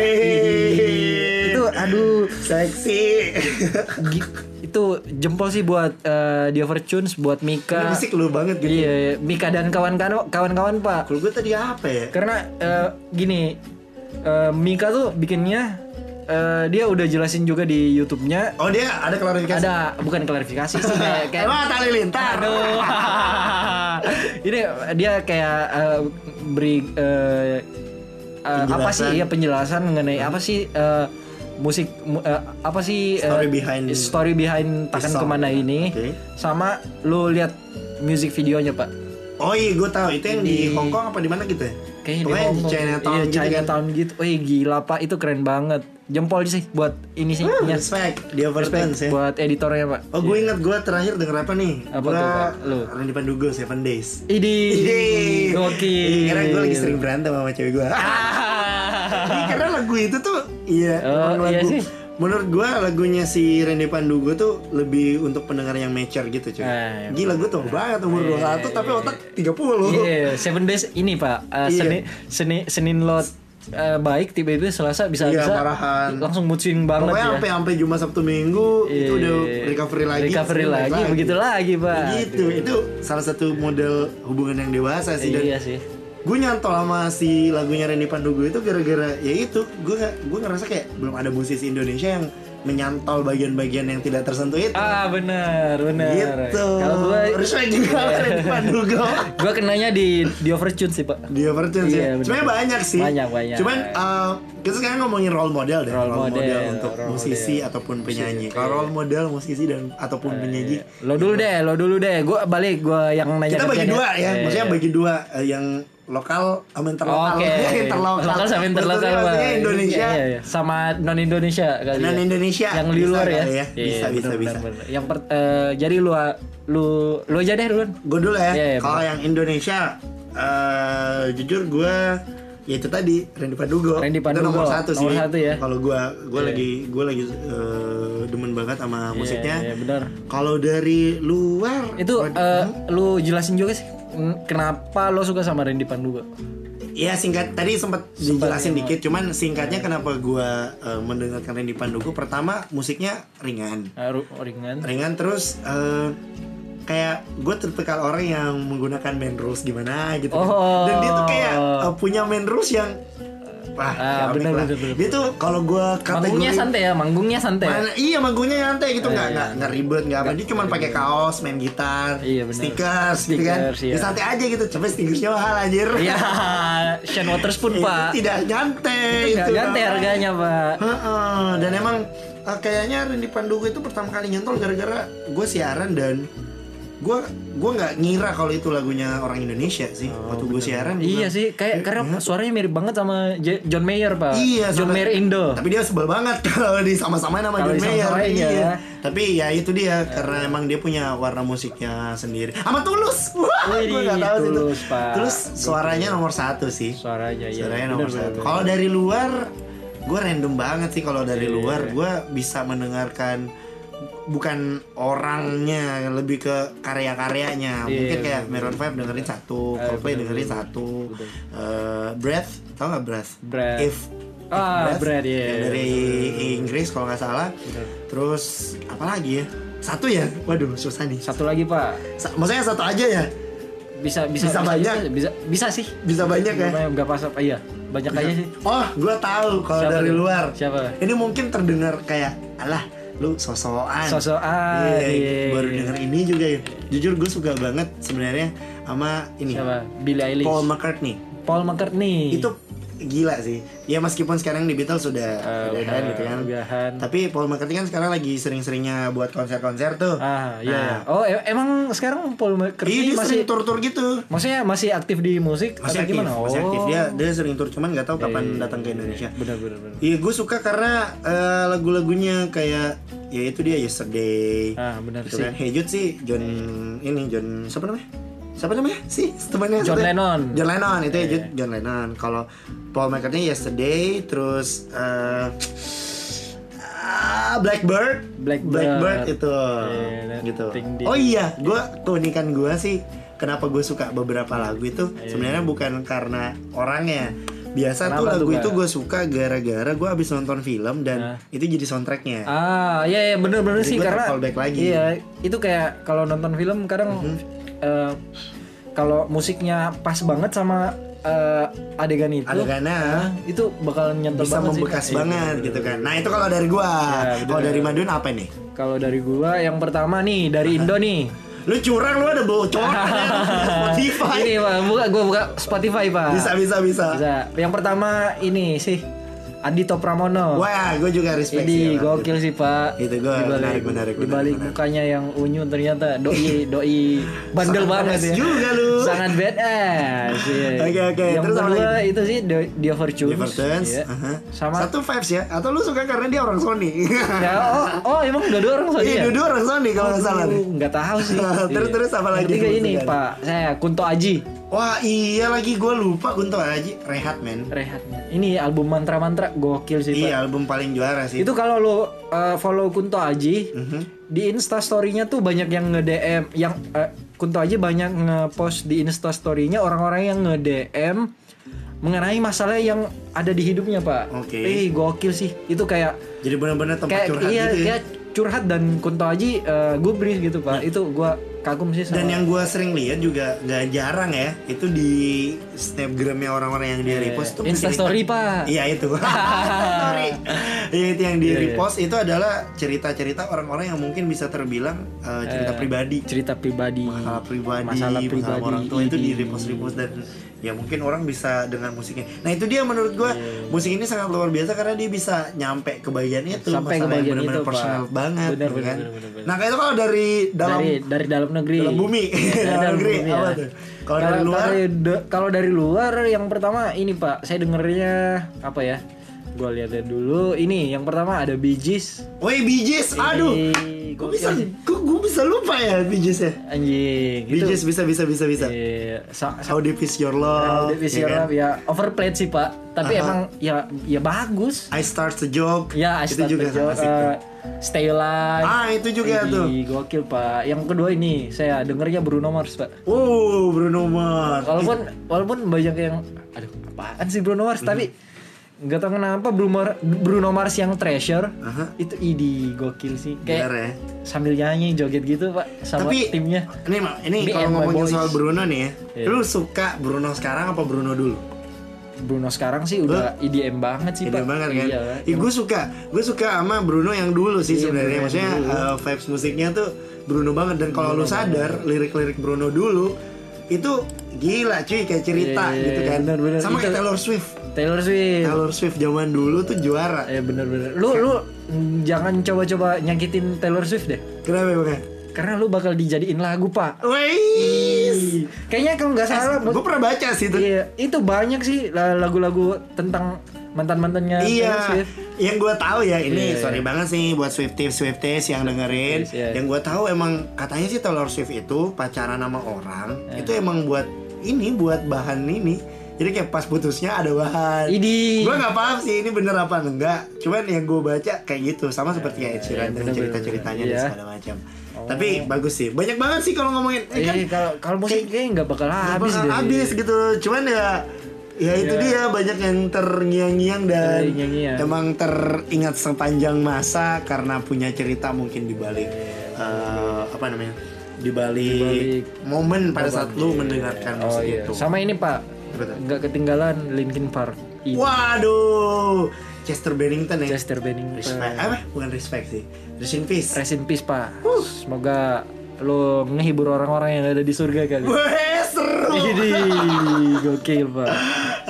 S2: Wih.
S3: Itu aduh,
S2: seksi.
S3: gi- itu jempol sih buat eh, The Overtunes, buat Mika.
S2: Musik lu banget gitu.
S3: Iya, Mika dan kawan-kawan kawan-kawan pak.
S2: Kalau gue tadi apa ya?
S3: Karena eh, gini, eh, Mika tuh bikinnya eh, dia udah jelasin juga di YouTube-nya.
S2: Oh dia ada klarifikasi.
S3: Ada bukan klarifikasi sih kayak kayak
S2: Emang tali lintar.
S3: Aduh. Ini dia kayak eh, beri eh, eh, apa
S2: Penjelasan.
S3: sih
S2: Iya.
S3: ya penjelasan mengenai apa sih eh, musik mu- eh, apa sih eh,
S2: Story behind
S3: story behind Takan
S2: song.
S3: kemana ini
S2: Oke.
S3: sama lu lihat music videonya Pak.
S2: Oh iya gue tahu itu yang di, Hong Kong apa di mana gitu ya?
S3: Kayaknya
S2: Pokoknya
S3: Hong Kong.
S2: Chinatown
S3: Iya,
S2: gitu kan.
S3: Chinatown gitu. Wih, gila Pak, itu keren banget. Jempol sih buat ini sih.
S2: Hmm,
S3: ya.
S2: Respect di Overton ya.
S3: buat editornya Pak.
S2: Oh gue ingat gue terakhir denger apa nih?
S3: Iya. Apa
S2: Gua-
S3: tuh, Pak? Lu?
S2: Randy Pandugo Seven Days.
S3: Idi,
S2: Yeay. Iya,
S3: gokil.
S2: Karena gue lagi sering berantem sama cewek gue. Iya, karena lagu itu tuh, iya.
S3: Oh,
S2: emang
S3: iya
S2: lagu,
S3: sih.
S2: Menurut gue lagunya si Randy Pandugo tuh lebih untuk pendengar yang mature gitu cuy.
S3: Ah, iya,
S2: Gila gue tuh banget umur 21 tapi otak 30
S3: Iya, Seven Days ini Pak. Eh,
S2: Iya.
S3: Seni, Seni, Senin lot eh, baik tiba-tiba Selasa bisa bisa
S2: Iya, marahan.
S3: langsung mood swing banget
S2: Pokoknya
S3: ya.
S2: sampai sampai Jumat Sabtu Minggu itu
S3: Iya.
S2: udah recovery lagi.
S3: recovery
S2: terus
S3: lagi, begitu lagi Pak.
S2: Gitu, itu salah satu model hubungan yang dewasa sih dan
S3: Iya sih.
S2: gue nyantol sama si lagunya Randy Pandugo itu gara-gara ya itu gue gue ngerasa kayak belum ada musisi Indonesia yang menyantol bagian-bagian yang tidak tersentuh itu
S3: ah benar benar ya.
S2: gitu
S3: kalau gua Iya.
S2: respect juga sama Randy Pandugo
S3: gua kenanya di di overtune sih pak
S2: di Overtune sih
S3: Iya, bener.
S2: sebenarnya banyak sih
S3: Banyak, banyak.
S2: cuman eh, kita sekarang ngomongin role model deh
S3: Role model,
S2: untuk
S3: role
S2: musisi
S3: model. Eh,
S2: ataupun penyanyi kalau role model musisi dan ataupun penyanyi
S3: lo dulu deh lo dulu deh gua balik gua yang nanya
S2: kita bagi
S3: kerjanya.
S2: dua ya,
S3: Iya,
S2: maksudnya
S3: iya.
S2: bagi dua eh, yang lokal sama interlokal,
S3: Oke.
S2: Ya, interlokal,
S3: Lokal sama interlokal.
S2: Maksudnya-
S3: Pak.
S2: maksudnya Indonesia,
S3: Iya, iya. sama non Indonesia kali.
S2: Non
S3: ya.
S2: Indonesia.
S3: Yang di
S2: Bisa
S3: luar ya.
S2: kali ya.
S3: Iya,
S2: Bisa, bisa,
S3: benar,
S2: bisa.
S3: benar, benar. Yang per, eh, jadi lu lu lu aja deh duluan.
S2: gue dulu ya,
S3: Iya, iya,
S2: kalau yang Indonesia, eh, jujur gue ya itu tadi Randy Pandugo,
S3: Randy
S2: itu
S3: Pandugo,
S2: nomor satu sih,
S3: nomor satu ya.
S2: kalau gue gue lagi gue lagi eh, demen banget sama musiknya,
S3: Iya, iya, benar.
S2: kalau dari luar
S3: Itu eh, lu jelasin juga sih mm, kenapa lo suka sama Randy Panduga?
S2: Ya singkat tadi sempat dijelasin dikit cuman singkatnya kenapa gua eh, mendengarkan Randy Pandugo pertama musiknya ringan
S3: Haru Ah, ringan.
S2: ringan terus eh, kayak gue tipikal orang yang menggunakan main rules gimana gitu kan.
S3: Oh.
S2: dan dia tuh kayak eh, punya main rules yang eh, wah
S3: Ah,
S2: ciamik
S3: bener,
S2: lah.
S3: bener, bener.
S2: dia tuh kalau gue kategori
S3: Manggungnya santai ya, manggungnya santai.
S2: Mana- iya manggungnya nyantai gitu nggak nggak nggak ribet nggak apa dia cuma pakai kaos main gitar
S3: Iya, bener.
S2: sneakers, gitu kan
S3: Sneakers, iya.
S2: ya, santai aja gitu coba sneakersnya mahal anjir
S3: Iya, Sean Waters pun
S2: Itu
S3: pak.
S2: tidak nyantai
S3: Nggak
S2: itu
S3: ganti
S2: namanya.
S3: harganya pak.
S2: Heeh, dan emang eh, kayaknya Randy Pandugo itu pertama kali nyantol gara-gara gue siaran dan gue gue nggak ngira kalau itu lagunya orang Indonesia sih waktu gue siaran. gua
S3: Iya
S2: bilang,
S3: sih, kayak karena suaranya mirip banget sama J- John Mayer pak.
S2: Iya,
S3: John
S2: sama-
S3: Mayer Indo.
S2: Tapi dia sebel banget kalau di sama-sama nama
S3: Kalau
S2: John Mayer.
S3: disama-samain ya.
S2: Tapi ya itu dia karena emang dia punya warna musiknya sendiri. Sama Tulus. Wah,
S3: Wih,
S2: gue nggak tahu sih itu.
S3: Tulus, Pak.
S2: Tulus suaranya nomor satu sih.
S3: Suaranya iya.
S2: Suaranya
S3: Bener,
S2: nomor
S3: bener,
S2: satu.
S3: bener.
S2: Kalau dari luar, gue random banget sih kalau
S3: Iya,
S2: dari luar. Gue bisa mendengarkan bukan orangnya, lebih ke karya-karyanya.
S3: Iya,
S2: Mungkin kayak Maroon 5 dengerin satu,
S3: Eh,
S2: Coldplay dengerin satu, Eh, Breath, tau nggak Breath?
S3: Breath.
S2: If
S3: Ah, Brad ya.
S2: yang dari Inggris kalau nggak salah. Terus apa lagi ya? Satu ya? Waduh, susah nih.
S3: Satu lagi pak,
S2: Sa- maksudnya satu aja ya?
S3: bisa bisa
S2: Bisa banyak.
S3: bisa, bisa, bisa sih.
S2: Bisa banyak ya?
S3: Lumayan, nggak pas apa iya, banyak aja sih.
S2: Oh, gue tahu kalau
S3: Siapa
S2: dari
S3: tuh?
S2: luar.
S3: Siapa?
S2: Ini mungkin terdengar kayak alah lu sosokan.
S3: Sosokan,
S2: Iya,
S3: iya.
S2: baru denger ini juga ya. Jujur gue suka banget sebenarnya sama ini
S3: Siapa? Billie Eilish.
S2: Paul
S3: Paul,
S2: McCartney.
S3: McCartney.
S2: Itu gila sih. Ya meskipun sekarang di Beatles sudah udahan
S3: Eh, udah,
S2: gitu kan.
S3: udahan.
S2: Tapi Paul McCartney kan sekarang lagi sering-seringnya buat konser-konser tuh.
S3: Ah, iya.
S2: Nah,
S3: Oh, em- emang sekarang Paul
S2: Iya
S3: McCartney
S2: dia
S3: masih
S2: sering tur-tur gitu.
S3: maksudnya masih aktif di musik
S2: Masih
S3: atau
S2: aktif,
S3: gimana?
S2: masih aktif.
S3: Oh. Iya,
S2: Dia dia sering tur cuman nggak tahu kapan datang ke Indonesia.
S3: Benar benar benar.
S2: Iya gue suka karena eh, lagu-lagunya kayak ya itu dia Yesterday.
S3: Ah, benar
S2: Gitu
S3: sih. Iya.
S2: kan. Hey Jude sih John ini John siapa namanya? Siapa namanya? Si temannya
S3: John
S2: satu.
S3: Lennon. Iya,
S2: John Lennon itu ya Jude John Lennon. Kalau Paul McCartney Yesterday terus eh, ah, Blackbird.
S3: Blackbird.
S2: itu
S3: Iya,
S2: gitu.
S3: ting ding.
S2: Oh iya, gue keunikan gue sih kenapa gue suka beberapa lagu itu sebenarnya bukan karena orangnya. Biasa
S3: Iya. Kenapa
S2: tuh lagu
S3: tuh,
S2: itu
S3: Kak?
S2: gue suka gara-gara gue abis nonton film dan itu jadi soundtracknya.
S3: Nah. Ah, iya iya bener-bener
S2: Jadi
S3: sih
S2: gua
S3: karena
S2: callback lagi. Mhm.
S3: Iya, itu kayak kalau nonton film kadang eh, kalau musiknya pas banget sama eh, adegan itu,
S2: Adegannya
S3: ah, itu bakalan nyentuh
S2: bisa
S3: banget sih.
S2: kan? membekas
S3: Iya,
S2: banget
S3: bener-bener.
S2: gitu kan. Nah itu kalau dari gua,
S3: bener.
S2: kalau dari Madun apa nih?
S3: Kalau dari gua yang pertama nih dari Indo nih.
S2: Lu curang lu ada bocor ya, Spotify.
S3: Ini Pak, buka gua buka Spotify, Pak.
S2: Bisa bisa bisa.
S3: Bisa. Yang pertama ini sih Adito Pramono.
S2: Wah, gua juga respect
S3: Ini
S2: sama
S3: gokil sih pak.
S2: ya, Itu gua
S3: Dibalik-
S2: menarik, menarik, menarik,
S3: Dibalik
S2: menarik.
S3: mukanya yang unyu ternyata doi doi bandel
S2: Sangat
S3: banget
S2: badass
S3: ya.
S2: juga lu.
S3: Sangat badass. iya.
S2: Oke, oke.
S3: Yang
S2: Terus apa
S3: kedua itu sih The, The Fortunes.
S2: Evertons,
S3: Iya.
S2: aha.
S3: Sama.
S2: satu vibes ya? Atau lu suka karena dia orang Sony?
S3: Ya, oh, oh emang dua-dua orang soalnya.
S2: Iya, dua orang Sony kalau nggak salah nih.
S3: Nggak tahu sih.
S2: Terus-
S3: Iya.
S2: terus apa lagi
S3: Yang Ketiga
S2: yang
S3: ini
S2: dimaksudkan?
S3: pak, saya Kunto Aji.
S2: Wah iya lagi gua lupa Kunto Aji Rehat men
S3: Rehat. Ini album mantra mantra gokil sih pak.
S2: Iya album paling juara sih Mhm.
S3: Itu kalau lo uh, follow Kunto Aji di Insta story-nya tuh banyak yang nge-DM yang uh, Kunto Aji banyak nge-post di Insta story-nya orang-orang yang nge-DM mengenai masalah yang ada di hidupnya, Pak.
S2: Oke.
S3: Ih, gokil sih. Itu kayak
S2: Jadi benar-benar tempat
S3: kayak
S2: curhat gitu
S3: iya
S2: ya Nah.
S3: kayak curhat dan Kunto Aji uh, gubris eh, gitu, Pak. Itu gua kagum sih sama
S2: Dan yang gue sering lihat juga gak jarang ya itu di snapgramnya orang-orang yang dia repost tuh
S3: Iya, Eh, Insta story,
S2: cerita-
S3: Pak.
S2: Iya itu. Story. Iya itu yang di repost itu adalah cerita-cerita orang-orang yang mungkin bisa terbilang eh, cerita pribadi.
S3: cerita pribadi
S2: masalah pribadi,
S3: masalah pribadi Iya.
S2: orang tua itu di
S3: ini.
S2: repost repost dan ya mungkin orang bisa dengan musiknya. Nah itu dia menurut gua
S3: Iya.
S2: musik ini sangat luar biasa karena dia bisa nyampe ke bagian itu
S3: Sampai
S2: masalah
S3: ke
S2: yang
S3: bagian
S2: benar-benar
S3: itu, Pak.
S2: personal banget,
S3: Benar,
S2: gitu
S3: benar,
S2: kan?
S3: benar, benar, benar.
S2: Nah kayak itu kalau dari dalam
S3: dari dari dalam negeri
S2: dalam bumi,
S3: Ya,
S2: dalam negeri
S3: bumi,
S2: apa
S3: ya.
S2: tuh? Kalau dari luar,
S3: de- kalau dari luar yang pertama ini pak saya dengernya apa ya gua lihat dulu ini yang pertama ada Bee Gees
S2: woi bijis, aduh,
S3: Ih,
S2: gua
S3: gokil
S2: bisa,
S3: sih.
S2: gua, gua bisa lupa ya bijisnya.
S3: anjing itu
S2: Bijis bisa bisa bisa bisa.
S3: Gitu. Iya, sa- sa-
S2: How deep is your love?
S3: Deep Is
S2: ya
S3: Your
S2: kan?
S3: Love, ya overplayed sih pak tapi emang ya ya bagus
S2: I start to joke.
S3: ya
S2: itu
S3: Asta
S2: juga
S3: Tejo,
S2: asik tuh.
S3: eh, Stay Alive
S2: Ah itu juga
S3: Ih,
S2: tuh.
S3: gokil pak yang kedua ini saya dengernya Bruno Mars pak
S2: Wow, Bruno Mars.
S3: walaupun walaupun banyak yang aduh apaan sih Bruno Mars tapi
S2: Mhm.
S3: nggak tahu kenapa Bruno Mar- Bruno Mars yang Treasure
S2: Aha.
S3: itu idi gokil sih
S2: Bener ya.
S3: kayak sambil nyanyi joget gitu pak sama
S2: Tapi
S3: timnya
S2: Ini Mak, ini
S3: Ini
S2: kalau
S3: and my
S2: ngomongin
S3: boys.
S2: soal Bruno nih ya.
S3: Iya.
S2: Lu suka Bruno sekarang apa Bruno dulu?
S3: Bruno sekarang sih udah IDM banget sih
S2: Gede
S3: pak
S2: banget kan?
S3: iya
S2: Ih, gue suka, gue suka sama Bruno yang dulu sih
S3: Iya,
S2: sebenarnya.
S3: Bruno yang
S2: Maksudnya
S3: dulu.
S2: eh, vibes musiknya tuh Bruno banget dan kalau lu sadar lirik-lirik Bruno dulu itu gila cuy kayak cerita
S3: Iya, iya,
S2: gitu
S3: iya,
S2: kan.
S3: bener-bener.
S2: Sama kayak
S3: Itu-
S2: Taylor Swift.
S3: Taylor Swift
S2: Taylor Swift zaman dulu tuh juara.
S3: eh bener-bener lu lu mm, jangan coba-coba nyakitin Taylor Swift deh
S2: Kenapa emangnya?
S3: karena lu bakal dijadiin lagu pak
S2: Wih,
S3: Ih, kayaknya kalau nggak salah
S2: gue pernah baca sih itu.
S3: Iya, itu banyak sih la- lagu-lagu tentang mantan-mantannya
S2: Iya,
S3: Taylor Swift.
S2: yang gue tahu ya ini
S3: Iya,
S2: sorry banget sih buat Swifties Swifties yang dengerin.
S3: Swifties, iya.
S2: Yang gue tahu emang katanya sih Taylor Swift itu pacaran sama orang
S3: Iya.
S2: itu emang buat ini buat bahan ini. Jadi kayak pas putusnya ada bahan.
S3: Idi.
S2: Gue nggak paham sih ini bener apa enggak. Cuman yang gue baca kayak gitu sama seperti kayak Ed Sheeran
S3: iya,
S2: dengan
S3: bener,
S2: cerita-ceritanya
S3: bener,
S2: dan
S3: iya. Oh.
S2: segala macam. Tapi bagus sih, banyak banget sih kalau ngomongin. Eh, kan
S3: Eh, kalau kalau musik kayaknya nggak bakal
S2: bakal
S3: habis deh. Iya.
S2: habis gitu cuman ya ya itu dia banyak yang terngiang-ngiang dan
S3: Terngiang-ngiang.
S2: emang teringat sepanjang masa karena punya cerita mungkin di balik eh, apa namanya di balik
S3: balik
S2: momen pada saat lu mendengarkan
S3: Oh
S2: musik
S3: iya.
S2: itu
S3: Sama ini Pak,
S2: Betul.
S3: nggak ketinggalan Linkin Park. Ih,
S2: waduh Chester Bennington ya
S3: Chester
S2: respect
S3: Bennington.
S2: apa bukan respect sih Rest in peace
S3: Rest in peace Pak. Semoga lo ngehibur orang-orang yang ada di surga kali.
S2: Weh, seru
S3: Ini gokil Pak.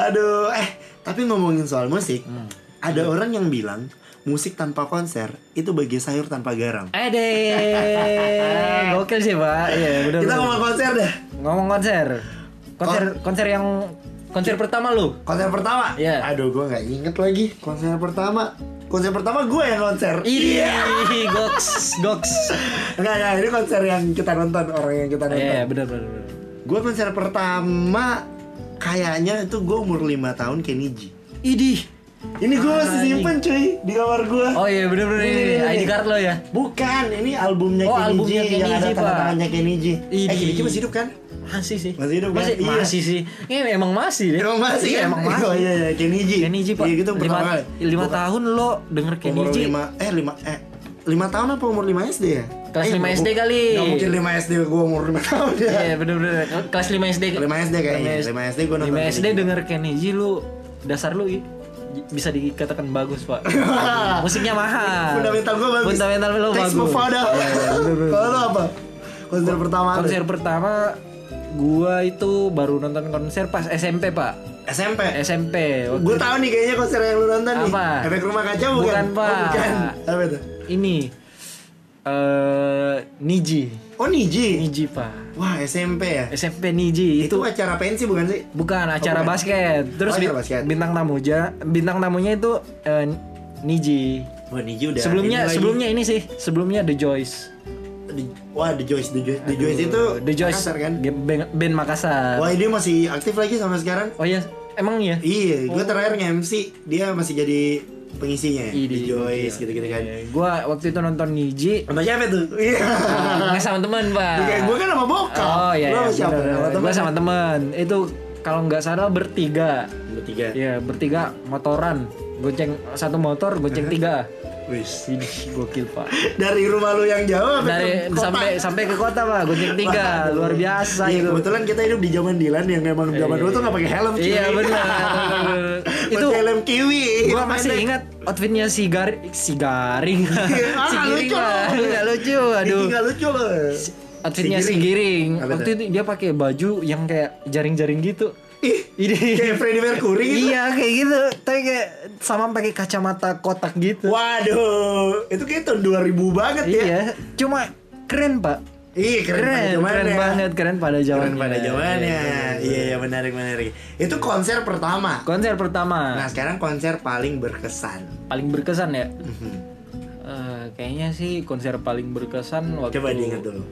S2: Aduh, eh tapi ngomongin soal musik,
S3: Hmm.
S2: ada
S3: Iya.
S2: orang yang bilang musik tanpa konser itu bagi sayur tanpa garam.
S3: Ede, Eh, gokil sih Pak. Iya, bener,
S2: Kita
S3: bener.
S2: ngomong konser dah.
S3: Ngomong konser. Konser konser yang konser pertama lu.
S2: Konser pertama.
S3: Iya.
S2: Aduh, gue nggak inget lagi konser pertama. Konser pertama gue yang konser.
S3: Ih, goks, goks.
S2: Enggak, enggak, ini konser yang kita nonton, orang yang kita nonton.
S3: Iya, benar benar. benar.
S2: Gue konser pertama kayaknya itu gue umur 5 tahun Kenny G.
S3: Idih.
S2: Ini gue masih
S3: Ah, Anjing.
S2: simpen cuy di kamar gue.
S3: Oh iya, benar benar
S2: Ini,
S3: ini,
S2: ini, ini.
S3: ID card lo ya.
S2: Bukan, ini albumnya
S3: Oh,
S2: Kenny
S3: albumnya
S2: G
S3: Kenny
S2: yang
S3: G,
S2: ada tanda
S3: Pak.
S2: tangannya Kenny G. Eh,
S3: Idi.
S2: Kenny G masih hidup kan?
S3: Masih sih.
S2: Masih hidup,
S3: masih,
S2: kan? Iya.
S3: masih sih. Iya, emang masih deh.
S2: Emang masih
S3: Iya,
S2: kan?
S3: emang masih.
S2: Oh iya iya Kenny G.
S3: Kenny G, Pak.
S2: Iya gitu
S3: lima,
S2: pertama kali.
S3: lima
S2: Bukan,
S3: tahun lo denger Kenny
S2: umur
S3: G.
S2: lima eh lima eh lima tahun apa umur lima SD ya?
S3: Kelas
S2: eh,
S3: lima
S2: gua-
S3: SD kali.
S2: Gak mungkin lima SD gua umur lima tahun ya.
S3: Iya, benar benar. Kelas 5 SD.
S2: Lima SD kayaknya.
S3: Lima
S2: Lima SD gua nonton.
S3: 5 SD
S2: Kenny G.
S3: denger Kenny G lu dasar lu i- bisa dikatakan bagus, Pak. Musiknya mahal.
S2: Fundamental gua bagus.
S3: Fundamental lo
S2: Thanks
S3: bagus. Iya,
S2: Mufada. Kalau lu apa? Konser pertama lu?
S3: konser pertama gua itu baru nonton konser pas SMP pak
S2: SMP.
S3: SMP waktu
S2: Gue tahu nih kayaknya konser yang lu nonton nih.
S3: Apa?
S2: Efek rumah kaca bukan?
S3: Bukan, Pak.
S2: Oh, bukan. Apa itu?
S3: ini eh Niji
S2: Oh Niji.
S3: Niji pak
S2: Wah SMP ya.
S3: SMP Niji
S2: Itu
S3: itu
S2: acara pensi bukan sih?
S3: bukan acara
S2: bukan.
S3: basket terus
S2: acara
S3: bi-
S2: basket.
S3: bintang tamunya bintang tamunya itu eh, Niji
S2: Wah Ya, Niji udah.
S3: sebelumnya
S2: ini lagi.
S3: sebelumnya ini sih sebelumnya The Joyce
S2: Di- Wah The Joyce The Joyce The Joyce itu
S3: The Joyce
S2: Makassar, kan?
S3: ge- band, band Makassar
S2: Wah dia masih aktif lagi sampai sekarang.
S3: oh iya emang ya
S2: Iya, gue terakhir nge-MC dia masih jadi pengisinya. Iya,
S3: Ih,
S2: The
S3: di-
S2: Joyce gitu-gitu kan.
S3: iya. gua waktu itu nonton Niji
S2: Sama siapa tuh? Iya.
S3: iya. Ah, nggak sama teman pak
S2: Kayak gue kan sama bokap.
S3: oh iya,
S2: Lu
S3: iya
S2: sama siapa?
S3: bener.
S2: Sama temen?
S3: Gua sama teman itu kalau nggak salah bertiga
S2: Bertiga.
S3: Iya. ya bertiga motoran goceng satu motor goceng tiga
S2: Wis.
S3: Ini gokil pak.
S2: Dari rumah lu yang jauh sampai
S3: Dari
S2: ke kota.
S3: sampai sampai ke kota pak, goceng tiga, luar biasa
S2: Iya,
S3: itu.
S2: kebetulan kita hidup di zaman Dilan yang emang zaman dulu tuh nggak pakai helm cuy.
S3: Iya benar.
S2: itu
S3: itu
S2: helm kiwi.
S3: gua
S2: Helm
S3: masih
S2: pendek.
S3: ingat outfitnya si gar si garing.
S2: Ah,
S3: si giring
S2: lucu.
S3: lah. Nggak lucu, aduh.
S2: Ini nggak lucu loh.
S3: Outfitnya si
S2: Giring.
S3: giring.
S2: Apa
S3: Waktu
S2: tuh?
S3: itu dia pakai baju yang kayak jaring-jaring gitu.
S2: Ih,
S3: Ide.
S2: kayak Freddie Mercury gitu.
S3: Iya kayak gitu, tapi kayak sama pakai kacamata kotak gitu.
S2: Waduh, itu kayak tahun 2000 banget ya.
S3: Iya, cuma keren pak.
S2: Iya, keren, pada
S3: Keren,
S2: zamannya.
S3: keren banget, keren pada
S2: Keren
S3: zamannya.
S2: pada zamannya.
S3: Iya, iya,
S2: Iya, iya menarik menarik. Itu konser pertama.
S3: Konser pertama
S2: Nah, sekarang konser paling berkesan.
S3: paling berkesan ya.
S2: Mhm.
S3: Eh, kayaknya sih konser paling berkesan waktu
S2: Coba diingat dulu.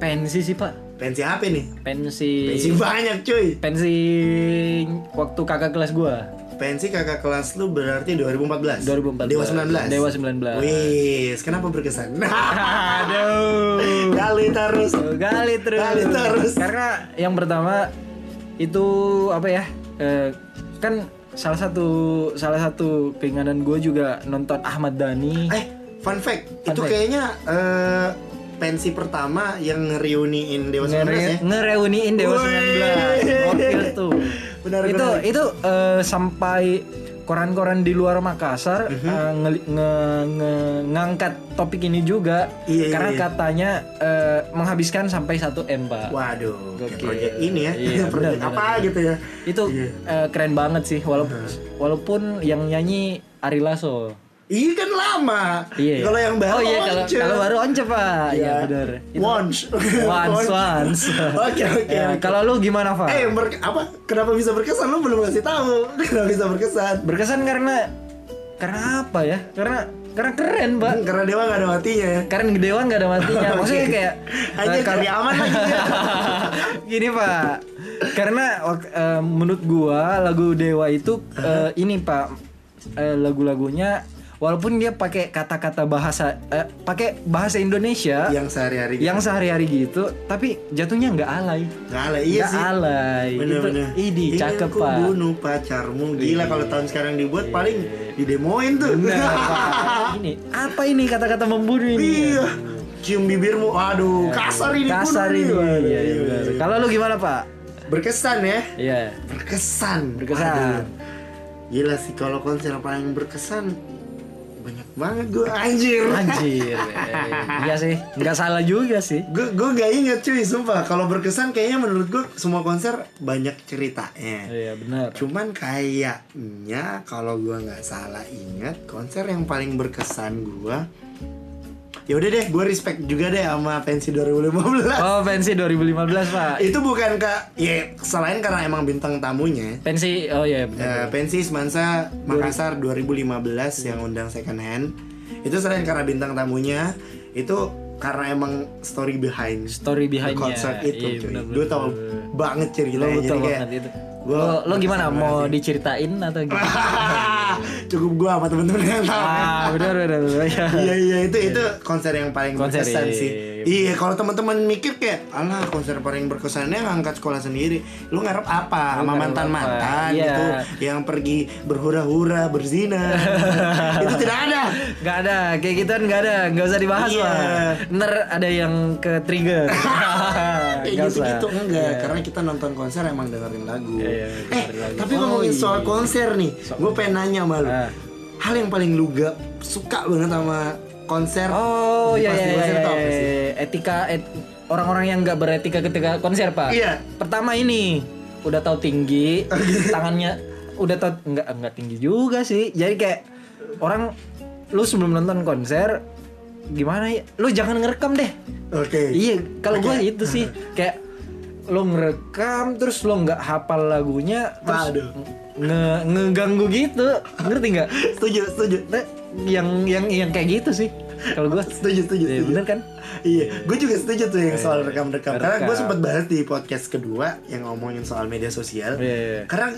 S3: pensi sih pak,
S2: Pensi apa nih?
S3: pensi
S2: Pensi banyak cuy.
S3: pensi waktu kakak kelas gua.
S2: Pensi kakak kelas lu berarti 2014.
S3: 2014.
S2: Dewa 19.
S3: Dewa 19.
S2: Wih, kenapa berkesan?
S3: Aduh.
S2: Kali terus.
S3: Eh, gali terus
S2: Gali terus.
S3: karena yang pertama itu apa ya eh, kan salah satu salah satu keinginan gue juga nonton Ahmad Dhani
S2: Eh, fun fact,
S3: Fun
S2: itu
S3: fact.
S2: kayaknya eh, pensi pertama yang ngereuniin Dewa 19 ya.
S3: ngere- ngereuniin Dewa
S2: Wih.
S3: 19 Gokil tuh
S2: Benar,
S3: itu
S2: benar.
S3: itu eh, sampai koran-koran di luar Makassar
S2: Mhm.
S3: eh, ngeli- nge- nge- ngangkat topik ini juga
S2: Iya, iya,
S3: karena
S2: iya.
S3: katanya eh, menghabiskan sampai 1 M pak
S2: Waduh, kayak
S3: Gokil.
S2: project ini ya.
S3: Iya,
S2: project apa
S3: benar, benar.
S2: gitu ya.
S3: itu
S2: Iya. Nah.
S3: eh, keren banget sih walaupun walaupun yang nyanyi Ari Lasso
S2: Iya kan lama.
S3: iya ya.
S2: Kalau yang baru
S3: oh iya kalau
S2: Once.
S3: kalau baru once pak iya benar Itu-
S2: Once.
S3: once once
S2: Oke, oke.
S3: Ya,
S2: oke.
S3: kalau lu gimana pak
S2: Eh, ber- apa? Kenapa bisa berkesan? Lu belum ngasih tahu. Kenapa bisa berkesan?
S3: berkesan karena karena apa ya karena karena keren pak
S2: Hmm, Karena Dewa gak ada matinya ya.
S3: keren gedewan nggak ada matinya Ya, maksudnya kayak
S2: Hanya
S3: eh, kalau-
S2: cari aman lagi dia.
S3: Gini pak, karena wak- eh, menurut gua lagu Dewa itu eh, ini pak eh, lagu-lagunya walaupun dia pakai kata-kata bahasa eh, pakai bahasa Indonesia
S2: yang sehari-hari gitu.
S3: yang sehari-hari gitu, tapi jatuhnya nggak alay,
S2: nggak ada iya
S3: nggak
S2: sih
S3: alay. gitu.
S2: bener-bener
S3: Idi
S2: Ingin
S3: cakep
S2: ku
S3: pak.
S2: Iya,
S3: Iya.
S2: bunuh pacarmu gila kalau tahun sekarang dibuat paling didemoin tuh
S3: Bener, Pak. Ini apa ini kata-kata membunuh ini?
S2: iya cium bibirmu aduh kasar ini
S3: Iya. Kasar ini.
S2: bunuh nih.
S3: Iya,
S2: Waduh,
S3: iya, bener.
S2: iya.
S3: Kalau lu gimana pak?
S2: berkesan ya
S3: Iya.
S2: berkesan
S3: Berkesan.
S2: Aduh. gila sih kalau konser paling berkesan banyak banget gue anjir
S3: Anjir. Eh, Iya sih, nggak salah juga sih.
S2: gue gue gak inget cuy sumpah kalau berkesan kayaknya menurut gue semua konser banyak ceritanya
S3: Iya benar.
S2: Cuman kayaknya kalau gua nggak salah ingat konser yang paling berkesan gua ya udah deh gua respect juga deh sama pensi 2015
S3: Oh, pensi 2015, Pak.
S2: itu bukan kak ya selain karena emang bintang tamunya
S3: Pensi oh
S2: Eh,
S3: iya benar.
S2: pensi Semansa Makassar 2015 yang undang second hand itu selain karena bintang tamunya itu karena emang story behind
S3: Story
S2: the
S3: behind-nya.
S2: concert itu
S3: Iya,
S2: cuy
S3: benar-benar.
S2: gue tau banget
S3: Lo
S2: ceritanya
S3: betul
S2: nah, jadi kayak
S3: banget itu.
S2: gua
S3: Lo, lo
S2: berkesan
S3: gimana
S2: banget
S3: mau
S2: sih.
S3: diceritain atau gimana?
S2: cukup gua sama temen-temen yang tahu
S3: ah, benar benar. benar. Iya.
S2: iya iya itu itu konser yang paling
S3: Konser,
S2: berkesan
S3: iya,
S2: sih
S3: iya,
S2: iya kalau teman-teman mikir kayak alah konser paling berkesannya ngangkat sekolah sendiri lu ngarep apa
S3: Lu
S2: sama
S3: ngarep
S2: mantan mantan
S3: apa? Iya.
S2: gitu yang pergi berhura-hura berzina itu tidak ada
S3: Gak ada, kayak gituan gak ada, gak usah dibahas
S2: Iya.
S3: lah. Ntar ada yang ke trigger.
S2: kayak
S3: Gak usah.
S2: gitu-gitu enggak karena kita nonton konser emang dengerin lagu
S3: Iya, dengerin
S2: eh
S3: lagu.
S2: tapi
S3: Oh,
S2: ngomongin
S3: iya,
S2: soal
S3: iya.
S2: konser nih gue pengen nanya sama lu
S3: Ah.
S2: hal yang paling lu gak suka banget sama konser
S3: Oh
S2: di
S3: iya
S2: pas
S3: iya
S2: di konser
S3: iya,
S2: tuh apa sih?
S3: iya. etika et- orang-orang yang nggak beretika ketika konser pak.
S2: Iya.
S3: Pertama ini udah tahu tinggi tangannya udah tahu nggak nggak tinggi juga sih. Jadi kayak orang lu sebelum nonton konser gimana ya? Lu jangan ngerekam deh.
S2: Oke.
S3: Iya kalau
S2: Oke.
S3: gua itu sih kayak lu ngerekam terus lu nggak hafal lagunya
S2: Waduh.
S3: terus nge- ngeganggu gitu ngerti nggak?
S2: Setuju, setuju.
S3: Nah, yang yang yang kayak gitu sih kalau gua
S2: Setuju, setuju,
S3: Iya,
S2: setuju.
S3: bener kan? Iya,
S2: Iya, gue juga setuju tuh yang soal rekam-rekam. Karena gue
S3: Rekam.
S2: sempat bahas di podcast kedua yang ngomongin soal media sosial.
S3: Iya, iya.
S2: Karena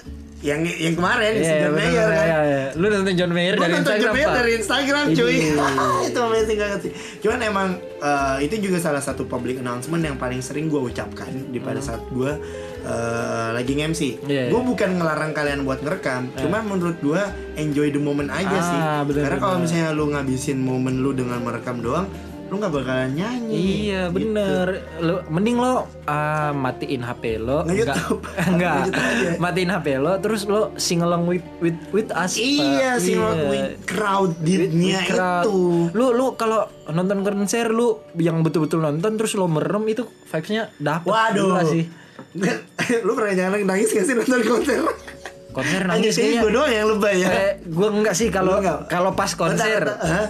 S2: yang yang kemarin si
S3: Iya,
S2: John
S3: bener,
S2: Mayer kan.
S3: iya, iya. Lu nonton John Mayer
S2: Gue
S3: dari
S2: nonton
S3: Instagram,
S2: John Mayer
S3: Pak.
S2: dari Instagram cuy
S3: Ini.
S2: Itu amazing banget sih Cuman emang eh, itu juga salah satu public announcement yang paling sering gue ucapkan di pada saat gue eh, lagi nge-MC.
S3: Hmm. Iya,
S2: Gue
S3: iya.
S2: bukan ngelarang kalian buat ngerekam, cuman menurut gue enjoy the moment aja
S3: Ah,
S2: sih.
S3: bener,
S2: Karena kalau
S3: bener.
S2: misalnya lu ngabisin momen lu dengan merekam doang, lu nggak bakalan nyanyi. Gitu.
S3: Iya bener lo, Mending lo ah, matiin HP lo
S2: Nge-YouTube.
S3: Enggak Enggak
S2: Nge-YouTube aja.
S3: Matiin HP lo Terus lo sing along with, with, with us
S2: Iya,
S3: Pak.
S2: sih
S3: Iya.
S2: crowdednya
S3: With crowd.
S2: itu.
S3: Lu lu kalau nonton konser lu yang betul-betul nonton terus lo merem itu vibes-nya dapet
S2: Waduh.
S3: gila sih.
S2: lu pernah jangan nangis gak sih nonton konser?
S3: Konser
S2: Hanya
S3: nangis
S2: sih
S3: kayaknya.
S2: gue doang yang lebay ya.
S3: Eh, gua enggak sih
S2: Lu
S3: kalau
S2: enggak?
S3: kalau pas konser.
S2: Bentar, bentar. Hah?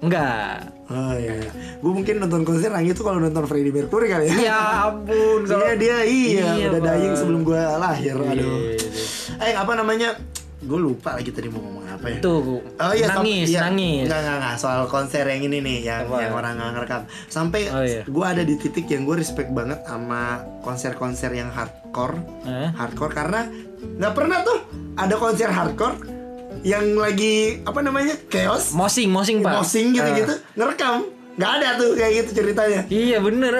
S3: Enggak.
S2: Oh iya. Gue mungkin nonton konser nangis tuh kalau nonton Freddie Mercury kali ya.
S3: Ya ampun
S2: Iya,
S3: kalau
S2: dia iya, udah
S3: Pak.
S2: dying sebelum gue lahir. Aduh.
S3: Iya.
S2: Eh apa namanya? Gue lupa lagi tadi mau ngomong apa ya.
S3: Itu
S2: Oh iya, sam-
S3: nangis,
S2: iya.
S3: nangis.
S2: Nggak, nggak, nggak. soal konser yang ini nih, yang
S3: Apa?
S2: yang orang nggak ngerekam. Sampai
S3: Oh, iya.
S2: gue ada di titik yang gue respect banget sama konser-konser yang hardcore,
S3: Hah?
S2: hardcore karena nggak pernah tuh ada konser hardcore yang lagi apa namanya chaos,
S3: Mosing, mosing, Pak. Ah.
S2: mosing gitu, gitu-gitu, ngerekam. Nggak ada tuh kayak gitu ceritanya.
S3: Eh, iya bener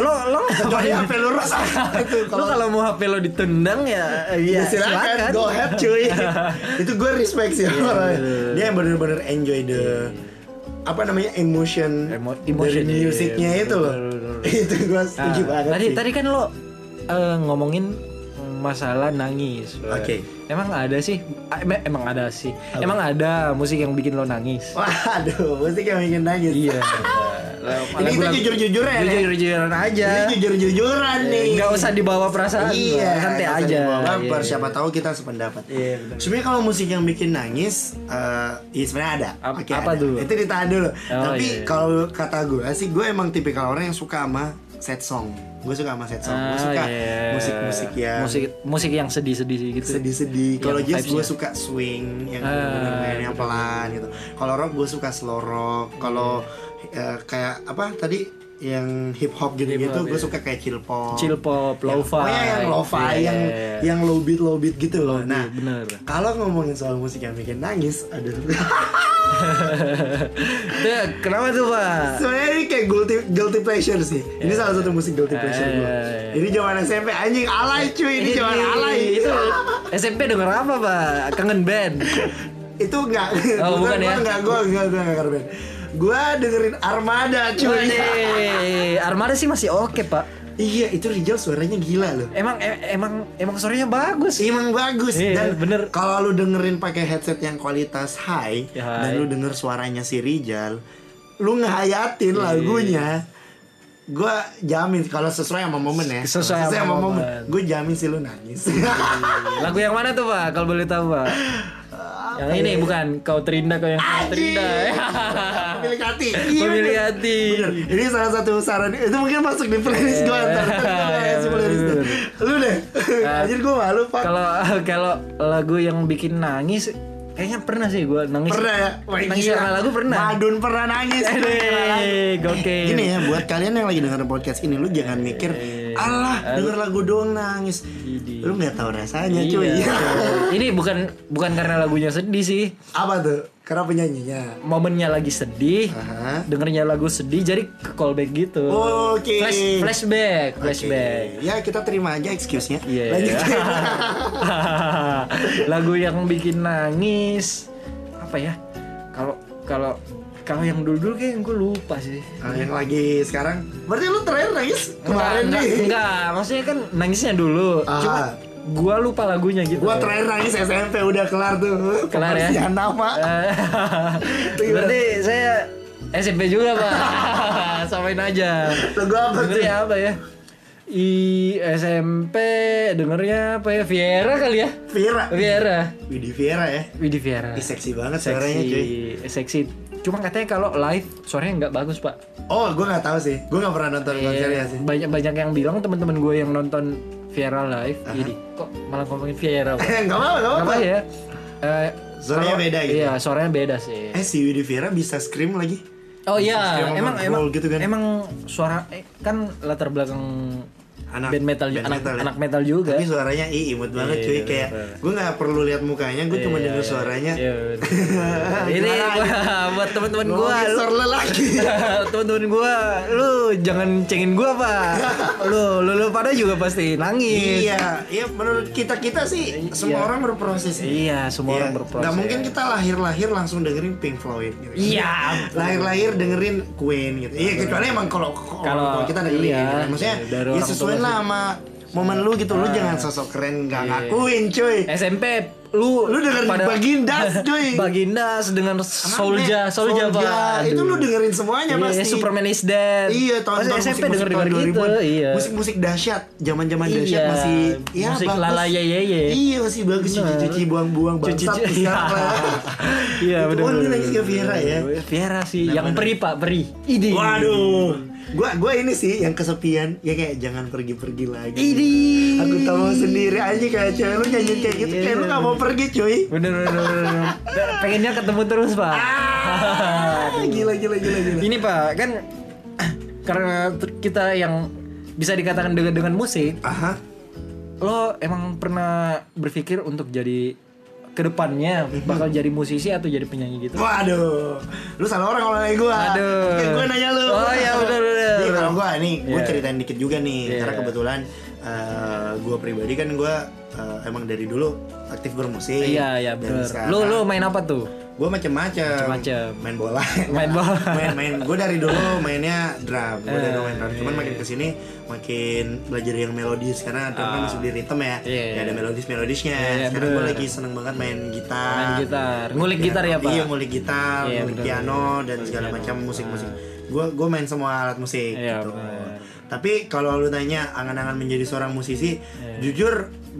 S3: Lo lo
S2: Pokoknya
S3: ngapain?
S2: HP lu rusak gitu.
S3: Lu kalau mau HP lo ditendang ya, Ah,
S2: Ya,
S3: ya
S2: silakan, go ahead cuy itu gue respect
S3: Iya,
S2: sih orangnya.
S3: bener-bener.
S2: dia yang bener-bener enjoy the apa namanya emotion,
S3: Iya, Emo- emotion,
S2: dari
S3: iya,
S2: musiknya
S3: iya,
S2: itu loh
S3: bener-bener.
S2: itu gue
S3: Nah,
S2: setuju banget
S3: tadi
S2: sih
S3: tadi kan lo eh, ngomongin masalah nangis. Pak.
S2: Oke.
S3: Emang ada sih? Ah, em- Emang ada sih. Emang ada musik yang bikin lo nangis.
S2: waduh musik yang bikin nangis
S3: Iya.
S2: ini kita jujur-jujuran ya
S3: Jujur-jujuran aja. Iya,
S2: ini jujur-jujuran nih
S3: Nggak usah dibawa perasaan.
S2: iya
S3: Pak. santai
S2: nggak usah
S3: aja.
S2: dibawa baper,
S3: Iya.
S2: siapa tahu kita sependapat
S3: Iya, benar.
S2: Sebenarnya kalau musik yang bikin nangis, eh ya sebenarnya ada.
S3: Ap-
S2: Oke,
S3: apa
S2: ada.
S3: tuh?
S2: Itu ditahan dulu. Tapi
S3: iya, iya.
S2: kalau kata gue sih, gue emang tipikal orang yang suka sama sad song. Gue suka sama sad song. gue
S3: Ah,
S2: suka Oh,
S3: iya.
S2: musik-musik yang
S3: musik musik yang sedih-sedih gitu.
S2: sedih-sedih. Kalau
S3: Yang
S2: jazz gue
S3: vibes-nya.
S2: suka swing yang
S3: Ah,
S2: bener-bener mainnya pelan gitu. Kalau rock gue suka slow rock. Kalau eh,
S3: Iya.
S2: kayak apa tadi yang hip hop gitu-gitu,
S3: Hip hop,
S2: gue
S3: iya.
S2: suka kayak chill pop.
S3: chill pop, lo-fi.
S2: Pokoknya yang lo-fi,
S3: Iya.
S2: yang yang low beat low beat gitu loh. Nah,
S3: bener.
S2: kalau ngomongin soal musik yang bikin nangis, aduh.
S3: Dek, kenapa tuh, Pak?
S2: Sebenarnya ini kayak guilty, guilty pleasure sih. Ini
S3: Iya,
S2: salah satu musik guilty pleasure gue.
S3: Ya, ya, ya.
S2: Ini zaman SMP anjing alay cuy, ini zaman alay.
S3: Itu SMP denger apa, Pak? Kangen band.
S2: itu enggak.
S3: Oh, bukan ya?
S2: Enggak, gue enggak, gue enggak ngerti. Gue dengerin Armada cuy.
S3: Wih, Armada sih masih oke, Pak.
S2: iya, itu Rizal suaranya gila loh.
S3: Emang e- emang emang sorenya bagus.
S2: Emang bagus
S3: Iya,
S2: dan
S3: bener.
S2: Kalau lu dengerin pakai headset yang kualitas high
S3: Ya,
S2: dan
S3: high.
S2: lu denger suaranya si Rijal, lu ngehayatin
S3: Iya.
S2: lagunya. Gua jamin kalau sesuai sama momen ya.
S3: Sesuai sama momen.
S2: Gue jamin sih lu nangis.
S3: Lagu yang mana tuh, Pak? Kalau boleh tahu, Pak. Yang ini bukan kau terindah kau yang kau
S2: ya? Anjing.
S3: terindah.
S2: Pemilik hati. Iya,
S3: Pemilih
S2: bener.
S3: hati.
S2: Bener. Ini salah satu saran itu mungkin masuk di playlist gue ntar. Ntar gua
S3: Iya. Iya,
S2: kasih playlist
S3: bener. Eh,
S2: lu. Lu deh. Anjir gue malu pak.
S3: Kalau kalau lagu yang bikin nangis kayaknya pernah sih gua nangis.
S2: pernah ya? Wah,
S3: Nangis
S2: gila.
S3: sama lagu pernah.
S2: Madun pernah nangis. Gua pernah nangis.
S3: Aduh, gokil. Eh,
S2: Gini ya buat kalian yang lagi dengerin podcast ini lu jangan mikir Allah denger lagu doang nangis.
S3: Idi.
S2: Lu nggak tahu rasanya
S3: Iya,
S2: cuy.
S3: betul. ini bukan bukan karena lagunya sedih sih.
S2: Apa tuh? Karena penyanyinya.
S3: Momennya lagi sedih,
S2: Aha.
S3: dengernya lagu sedih jadi ke callback gitu.
S2: Oke.
S3: Flash, flashback,
S2: Oke.
S3: flashback.
S2: Ya kita terima aja excuse-nya.
S3: Iya.
S2: Lanjut.
S3: lagu yang bikin nangis apa ya? Kalau kalau kalau yang dulu-dulu kayak gue lupa sih.
S2: Kalau Nah, yang lagi sekarang, berarti lu terakhir nangis kemarin
S3: enggak,
S2: nih.
S3: enggak, maksudnya kan nangisnya dulu.
S2: Ah.
S3: Cuma gua lupa lagunya gitu.
S2: Gua terakhir nangis SMP udah kelar tuh.
S3: Kelar ya?
S2: Pembersihan nama.
S3: Eh, Berarti saya SMP juga pak Samain aja
S2: Lu gua apa tuh?
S3: Dengernya apa ya I SMP dengernya apa ya Viera kali ya
S2: Vira.
S3: Viera
S2: Widi Vira ya.
S3: Widi Viera
S2: Ih, seksi banget suaranya cuy.
S3: Ah. Seksi Seksi Cuma katanya kalau live suaranya nggak bagus pak
S2: Oh, gue nggak tahu sih. Gue nggak pernah nonton
S3: Iya.
S2: konsernya sih.
S3: Banyak banyak yang bilang teman-teman gue yang nonton Viera live Ini kok malah ngomongin Viera pak
S2: Gak Eh, apa-apa, gak apa-apa.
S3: Kenapa ya Eh,
S2: Suaranya
S3: kalau-
S2: beda gitu
S3: Iya suaranya beda sih
S2: Eh, si Widi Vira bisa scream lagi.
S3: Oh iya,
S2: Kayak
S3: emang
S2: ngobrol
S3: emang
S2: gitu kan.
S3: Emang suara eh, kan latar belakang
S2: anak
S3: band metal ju-
S2: band
S3: anak,
S2: metal ya.
S3: anak metal juga.
S2: Tapi suaranya i imut banget
S3: Iya,
S2: cuy
S3: bener.
S2: kayak gue nggak perlu lihat mukanya, gue cuma
S3: Iya,
S2: denger
S3: iya.
S2: suaranya.
S3: Iya, bener. Ini
S2: Gimana
S3: gua, buat teman-teman
S2: Gua
S3: gua, lu-
S2: geser lelaki.
S3: teman-teman gua, lu jangan cengin gua pak. Lu, lu, lu pada juga pasti nangis.
S2: iya, iya menurut kita kita sih semua
S3: Iya.
S2: orang berproses.
S3: Iya, semua
S2: Iya,
S3: orang berproses.
S2: Nggak mungkin kita lahir-lahir langsung dengerin Pink Floyd gitu.
S3: Iya.
S2: lahir-lahir dengerin Queen gitu. Iya, kecuali emang kalau kalau
S3: Kalau-
S2: kalau kita dengerin
S3: iya,
S2: gitu. maksudnya
S3: iya, dari
S2: ya
S3: orang
S2: sesuai
S3: tua Ah. Iya.
S2: lah sama momen lu gitu. Lu jangan sosok keren nggak ngakuin, cuy.
S3: SMP lu
S2: Lu dengerin Bagindas, cuy.
S3: Bagindas dengan Solja,
S2: Solja.
S3: Solja pak.
S2: Itu lu
S3: Aduh.
S2: dengerin semuanya
S3: Iya,
S2: pasti.
S3: Superman is dead.
S2: Iya,
S3: Masa
S2: tahun-tahun
S3: SMP
S2: musik-musik
S3: denger
S2: tahun
S3: denger gitu.
S2: 2000-an.
S3: Iya.
S2: Musik-musik dahsyat, zaman-zaman dahsyat
S3: Iya,
S2: masih ya
S3: musik
S2: bagus.
S3: lala ye ye ye.
S2: Iya, masih bagus cuci-cuci buang-buang
S3: Cuci-
S2: bangsat
S3: cuci-
S2: sekarang lah.
S3: Iya,
S2: Itu
S3: benar.
S2: kan lu nangis ke Viera ya.
S3: Viera sih, yang peri Pak, peri. Idi.
S2: Waduh. Gua gua ini sih yang kesepian, ya kayak jangan pergi-pergi lagi.
S3: Idi.
S2: Aku tahu sendiri aja kayak cewek lu nyanyi kayak gitu kayak
S3: Iya.
S2: lu gak mau pergi cuy.
S3: Bener bener bener. bener. Pengennya ketemu terus Pak.
S2: Ah, gila gila gila gila.
S3: Ini Pak, kan karena t- kita yang bisa dikatakan dengan, dengan musik,
S2: Aha.
S3: lo emang pernah berpikir untuk jadi kedepannya
S2: Mhm.
S3: bakal jadi musisi atau jadi penyanyi gitu?
S2: Waduh, lu salah orang kalau nanya gue.
S3: Aduh.
S2: gue nanya lu.
S3: Oh, iya, benar, benar.
S2: Jadi kalau gue nih, gue
S3: Iya.
S2: ceritain dikit juga nih,
S3: Iya.
S2: karena kebetulan gue pribadi kan gue emang dari dulu aktif bermusik.
S3: Iya iya
S2: Dan
S3: bener.
S2: sekarang
S3: Lo lo main apa tuh?
S2: gue macem-macem.
S3: Macem-macem.
S2: Main bola.
S3: Main bola.
S2: main main. Gue dari dulu mainnya drum. Gue dari dulu main drum.
S3: Eh.
S2: Cuman makin kesini makin belajar yang melodis karena drum kan masuk di ritme ya.
S3: Ah. Iya,
S2: Ya, ada
S3: iya.
S2: melodis melodisnya.
S3: Iya,
S2: Sekarang gue
S3: bener.
S2: lagi seneng banget main gitar.
S3: Main gitar. Ngulik gitar ya, Pak?
S2: Ah, Iya ngulik gitar,
S3: Iya,
S2: ngulik
S3: bener.
S2: piano dan segala macam musik-musik. Gue gue main semua alat musik
S3: Ah. Iya,
S2: gitu.
S3: bener.
S2: Tapi kalau lu tanya angan-angan menjadi seorang musisi,
S3: Iya.
S2: jujur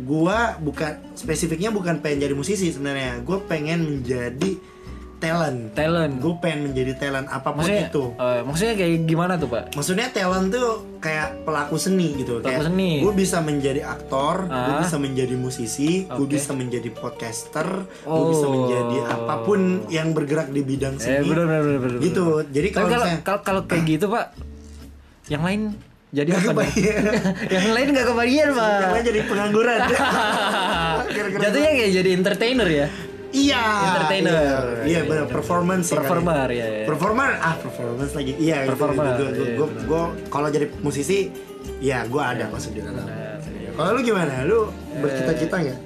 S2: gua bukan spesifiknya bukan pengen jadi musisi sebenarnya. Gue pengen menjadi talent.
S3: Talent.
S2: Gue pengen menjadi talent apapun
S3: Maksudnya,
S2: itu.
S3: eh, maksudnya kayak gimana tuh Pak?
S2: Maksudnya talent tuh kayak pelaku seni gitu.
S3: Pelaku
S2: kayak
S3: seni.
S2: Gue bisa menjadi aktor, gue
S3: Ah.
S2: bisa menjadi musisi, gue
S3: Oke.
S2: bisa menjadi podcaster, gue
S3: Oh.
S2: bisa menjadi apapun yang bergerak di bidang seni.
S3: Eh bener bener bener. bener.
S2: Gitu. Jadi
S3: Tapi
S2: kalau
S3: kalau
S2: misalnya-
S3: kalau kalau kayak gitu Pak, yang lain jadi
S2: Nggak
S3: apa? nih?
S2: kebayang.
S3: yang lain nggak kebagian Pak.
S2: Karena jadi pengangguran. Gara-gara-
S3: Jatuhnya kayak jadi entertainer ya.
S2: Iya.
S3: Entertainer.
S2: Iya, Iya, benar performance ya
S3: Performer,
S2: kali.
S3: iya, iya.
S2: Performer. Ah, performance lagi. Iya,
S3: Performer,
S2: Gue
S3: iya, benar.
S2: kalau jadi musisi ya gue ada masuk di dalam. Kalau lu gimana? Lu
S3: Eh,
S2: bercita-cita nggak?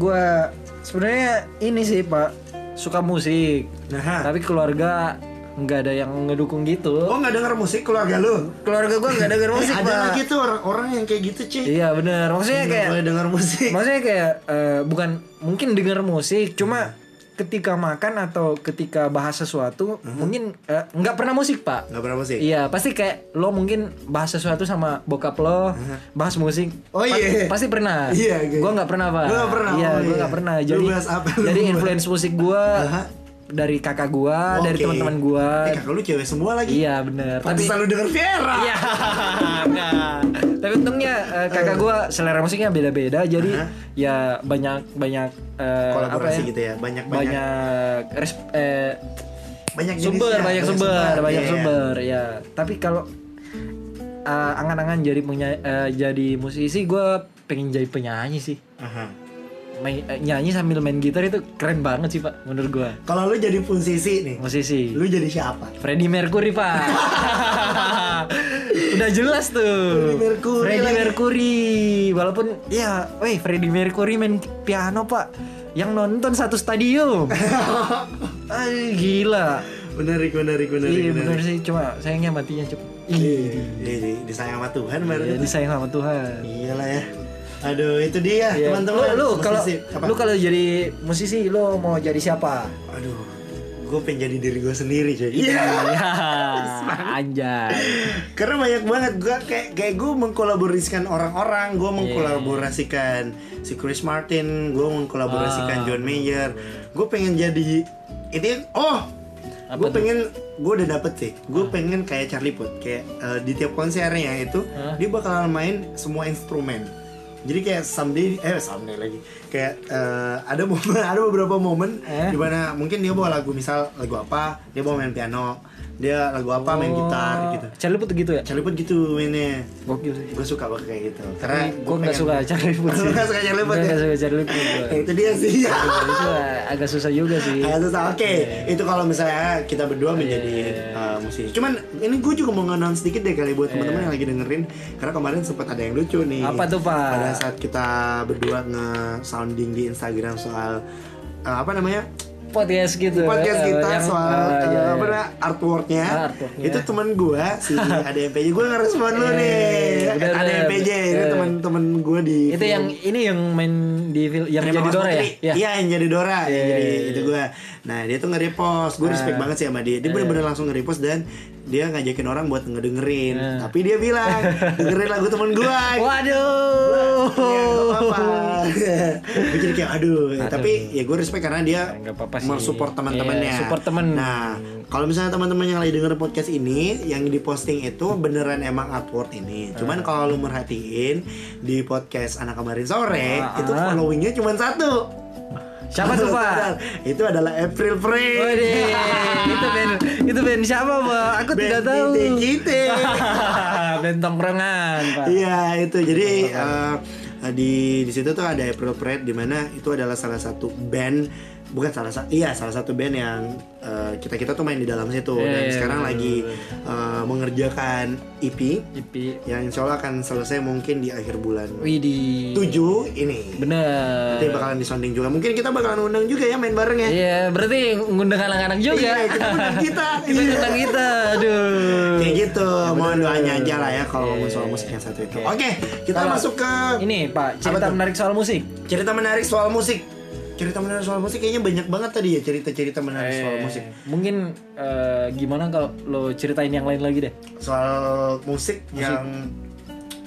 S3: Gua sebenarnya ini sih Pak suka musik,
S2: Nah.
S3: tapi keluarga nggak ada yang ngedukung gitu.
S2: Oh nggak denger musik keluarga lu?
S3: Keluarga gua nggak denger musik
S2: Eh, ada lagi tuh orang-orang yang kayak gitu cuy.
S3: Iya bener, maksudnya
S2: Nggak
S3: kayak
S2: boleh denger musik.
S3: Maksudnya kayak eh, bukan mungkin denger musik, cuma
S2: Hmm.
S3: ketika makan atau ketika bahas sesuatu mungkin eh, nggak pernah musik
S2: Hmm.
S3: pak.
S2: Nggak pernah musik.
S3: Iya pasti kayak lo mungkin bahas sesuatu sama bokap lo, bahas musik.
S2: Hmm. Oh,
S3: Pa-
S2: iya.
S3: Pasti pernah.
S2: Iya, iya.
S3: Gua nggak pernah pak.
S2: Lu nggak pernah,
S3: Iya
S2: oh,
S3: gua
S2: iya.
S3: nggak pernah.
S2: Lu
S3: Jadi
S2: bahas apa? Lu
S3: jadi
S2: bahas-
S3: influence musik gua
S2: Aha.
S3: dari kakak gua, dari
S2: Oke.
S3: teman-teman gua.
S2: Eh, kakak lu cewek semua lagi.
S3: Iya bener.
S2: Tapi selalu denger Viera.
S3: Iya. nah, tapi untungnya eh, kakak gua selera musiknya beda-beda jadi
S2: Aha.
S3: ya banyak banyak eh,
S2: Kolaborasi
S3: apa ya,
S2: gitu ya. Banyak banyak
S3: banyak res- eh,
S2: banyak
S3: sumber,
S2: jenisnya,
S3: banyak sumber, banyak
S2: Iya.
S3: sumber ya. Tapi kalau eh, angan-angan jadi penya- eh, jadi musisi gua pengen jadi penyanyi sih.
S2: Aha.
S3: Main, eh, nyanyi sambil main gitar itu keren banget sih, Pak, menurut gua.
S2: Kalau lu jadi musisi nih,
S3: Musisi.
S2: lu jadi siapa?
S3: Freddie Mercury pak udah jelas tuh
S2: Freddie Mercury
S3: Freddie
S2: lagi.
S3: Mercury walaupun ya weh Freddie Mercury main piano pak yang nonton satu stadium Ay, gila
S2: Menarik, menarik, menarik,
S3: iya bener
S2: menarik.
S3: sih cuma sayangnya matinya cepat
S2: Iya, iya, disayang sama Tuhan berarti.
S3: iya disayang sama Tuhan
S2: Iyalah ya. Aduh, itu dia
S3: Iya.
S2: Eh, teman-teman.
S3: lu, lu kalau
S2: Musisi. Apa?
S3: lu kalau jadi musisi lu mau jadi siapa
S2: Aduh, gue pengen jadi diri gue sendiri cuy.
S3: Iya, anjay
S2: Karena banyak banget gue kayak kayak gue mengkolaborasikan orang-orang,
S3: Iya.
S2: gue mengkolaborasikan si Chris Martin, gue mengkolaborasikan
S3: Ah,
S2: John Mayer. Gue pengen jadi itu oh gue
S3: Apa tuh? Ah.
S2: pengen gue udah dapet sih gue pengen kayak Charlie Puth kayak eh, di tiap konsernya itu dia bakalan main semua instrumen jadi kayak someday eh someday lagi kayak eh, ada momen ada beberapa momen
S3: Eh?
S2: di mana mungkin dia bawa lagu misal lagu apa dia bawa main piano Dia lagu apa main gitar gitu.
S3: Celiput Oh. gitu ya?
S2: Charlie Puth gitu mainnya.
S3: Gokil sih.
S2: Gue suka banget kayak gitu. Karena
S3: Gue Iya, nggak suka Celiput sih.
S2: Lu nggak suka Charlie Puth
S3: Gua
S2: ya?
S3: nggak suka Celiput. gua.
S2: Ya, itu dia sih.
S3: Itu agak susah juga sih.
S2: Agak susah. Oke,
S3: Iya.
S2: itu kalau misalnya kita berdua menjadi uh, musisi. Cuman ini gue juga mau nge-announce sedikit deh kali buat teman-teman yang lagi dengerin karena kemarin sempat ada yang lucu nih.
S3: Iya. Apa tuh, Pak?
S2: Pada saat kita berdua nge-sounding di Instagram soal uh, apa namanya?
S3: Podcast gitu.
S2: podcast
S3: eh,
S2: kita
S3: yang-
S2: soal eh,
S3: ah, iya,
S2: apa
S3: iya.
S2: namanya artworknya
S3: Ah, artworknya.
S2: itu teman gue si ADMPJ gue ngerespon lu
S3: Eh,
S2: nih
S3: bener,
S2: ADMPJ ini
S3: bener.
S2: teman-teman gue di
S3: Itu yang ini yang main di film yang
S2: Terima
S3: jadi
S2: kasih,
S3: Dora ya?
S2: Putri. Iya yang jadi Dora yang
S3: Iya,
S2: jadi
S3: iya, iya. Ah. Eh.
S2: itu gue Nah dia tuh nge-repost Gue respect banget sih sama dia Dia bener-bener langsung nge-repost Dan dia ngajakin orang buat ngedengerin
S3: Eh.
S2: Tapi dia bilang Dengerin lagu temen gue
S3: Waduh.
S2: Iya, gue jadi Oh. kayak aduh, tapi ya gue respect karena dia
S3: nggak apa-apa sih.
S2: mensupport teman-temannya.
S3: Iya, support temen.
S2: Nah, kalau misalnya teman-teman yang lagi denger podcast ini, yang diposting itu beneran emang artwork ini.
S3: Ah.
S2: Cuman kalau lu merhatiin di podcast anak kemarin sore,
S3: Ah,
S2: itu
S3: ah.
S2: followingnya cuma satu.
S3: Siapa tuh, Pak?
S2: Itu adalah April Free.
S3: Waduh, itu band itu band siapa, Pak? Aku tidak tahu.
S2: Kita.
S3: band tongkrongan, Pak.
S2: Iya itu jadi eh, di di situ tuh ada April Pride di mana itu adalah salah satu band bukan salah satu iya salah satu band yang kita kita tuh main di dalam situ
S3: Iya,
S2: dan
S3: iya,
S2: sekarang
S3: bener,
S2: lagi eh, mengerjakan EP
S3: Ipi.
S2: yang insya Allah akan selesai mungkin di akhir bulan
S3: Widi.
S2: 7 ini
S3: Bener.
S2: nanti bakalan disonding juga mungkin kita bakalan undang juga ya main bareng ya
S3: Iya, berarti ngundang anak-anak juga.
S2: Iya, kita undang kita
S3: kita
S2: Iya.
S3: kita kita, aduh.
S2: kayak gitu
S3: Iya,
S2: mohon doanya aja lah ya kalau ngomong soal musik yang satu itu oke kita
S3: Kalau-
S2: masuk ke
S3: Iya. Ini Pak,
S2: Apa
S3: cerita
S2: tuh?
S3: menarik soal musik.
S2: Cerita menarik soal musik. Cerita menarik soal musik kayaknya banyak banget tadi ya cerita-cerita menarik soal
S3: Eh,
S2: musik.
S3: Mungkin eh, gimana kalau lo ceritain yang lain lagi deh?
S2: Soal musik, yang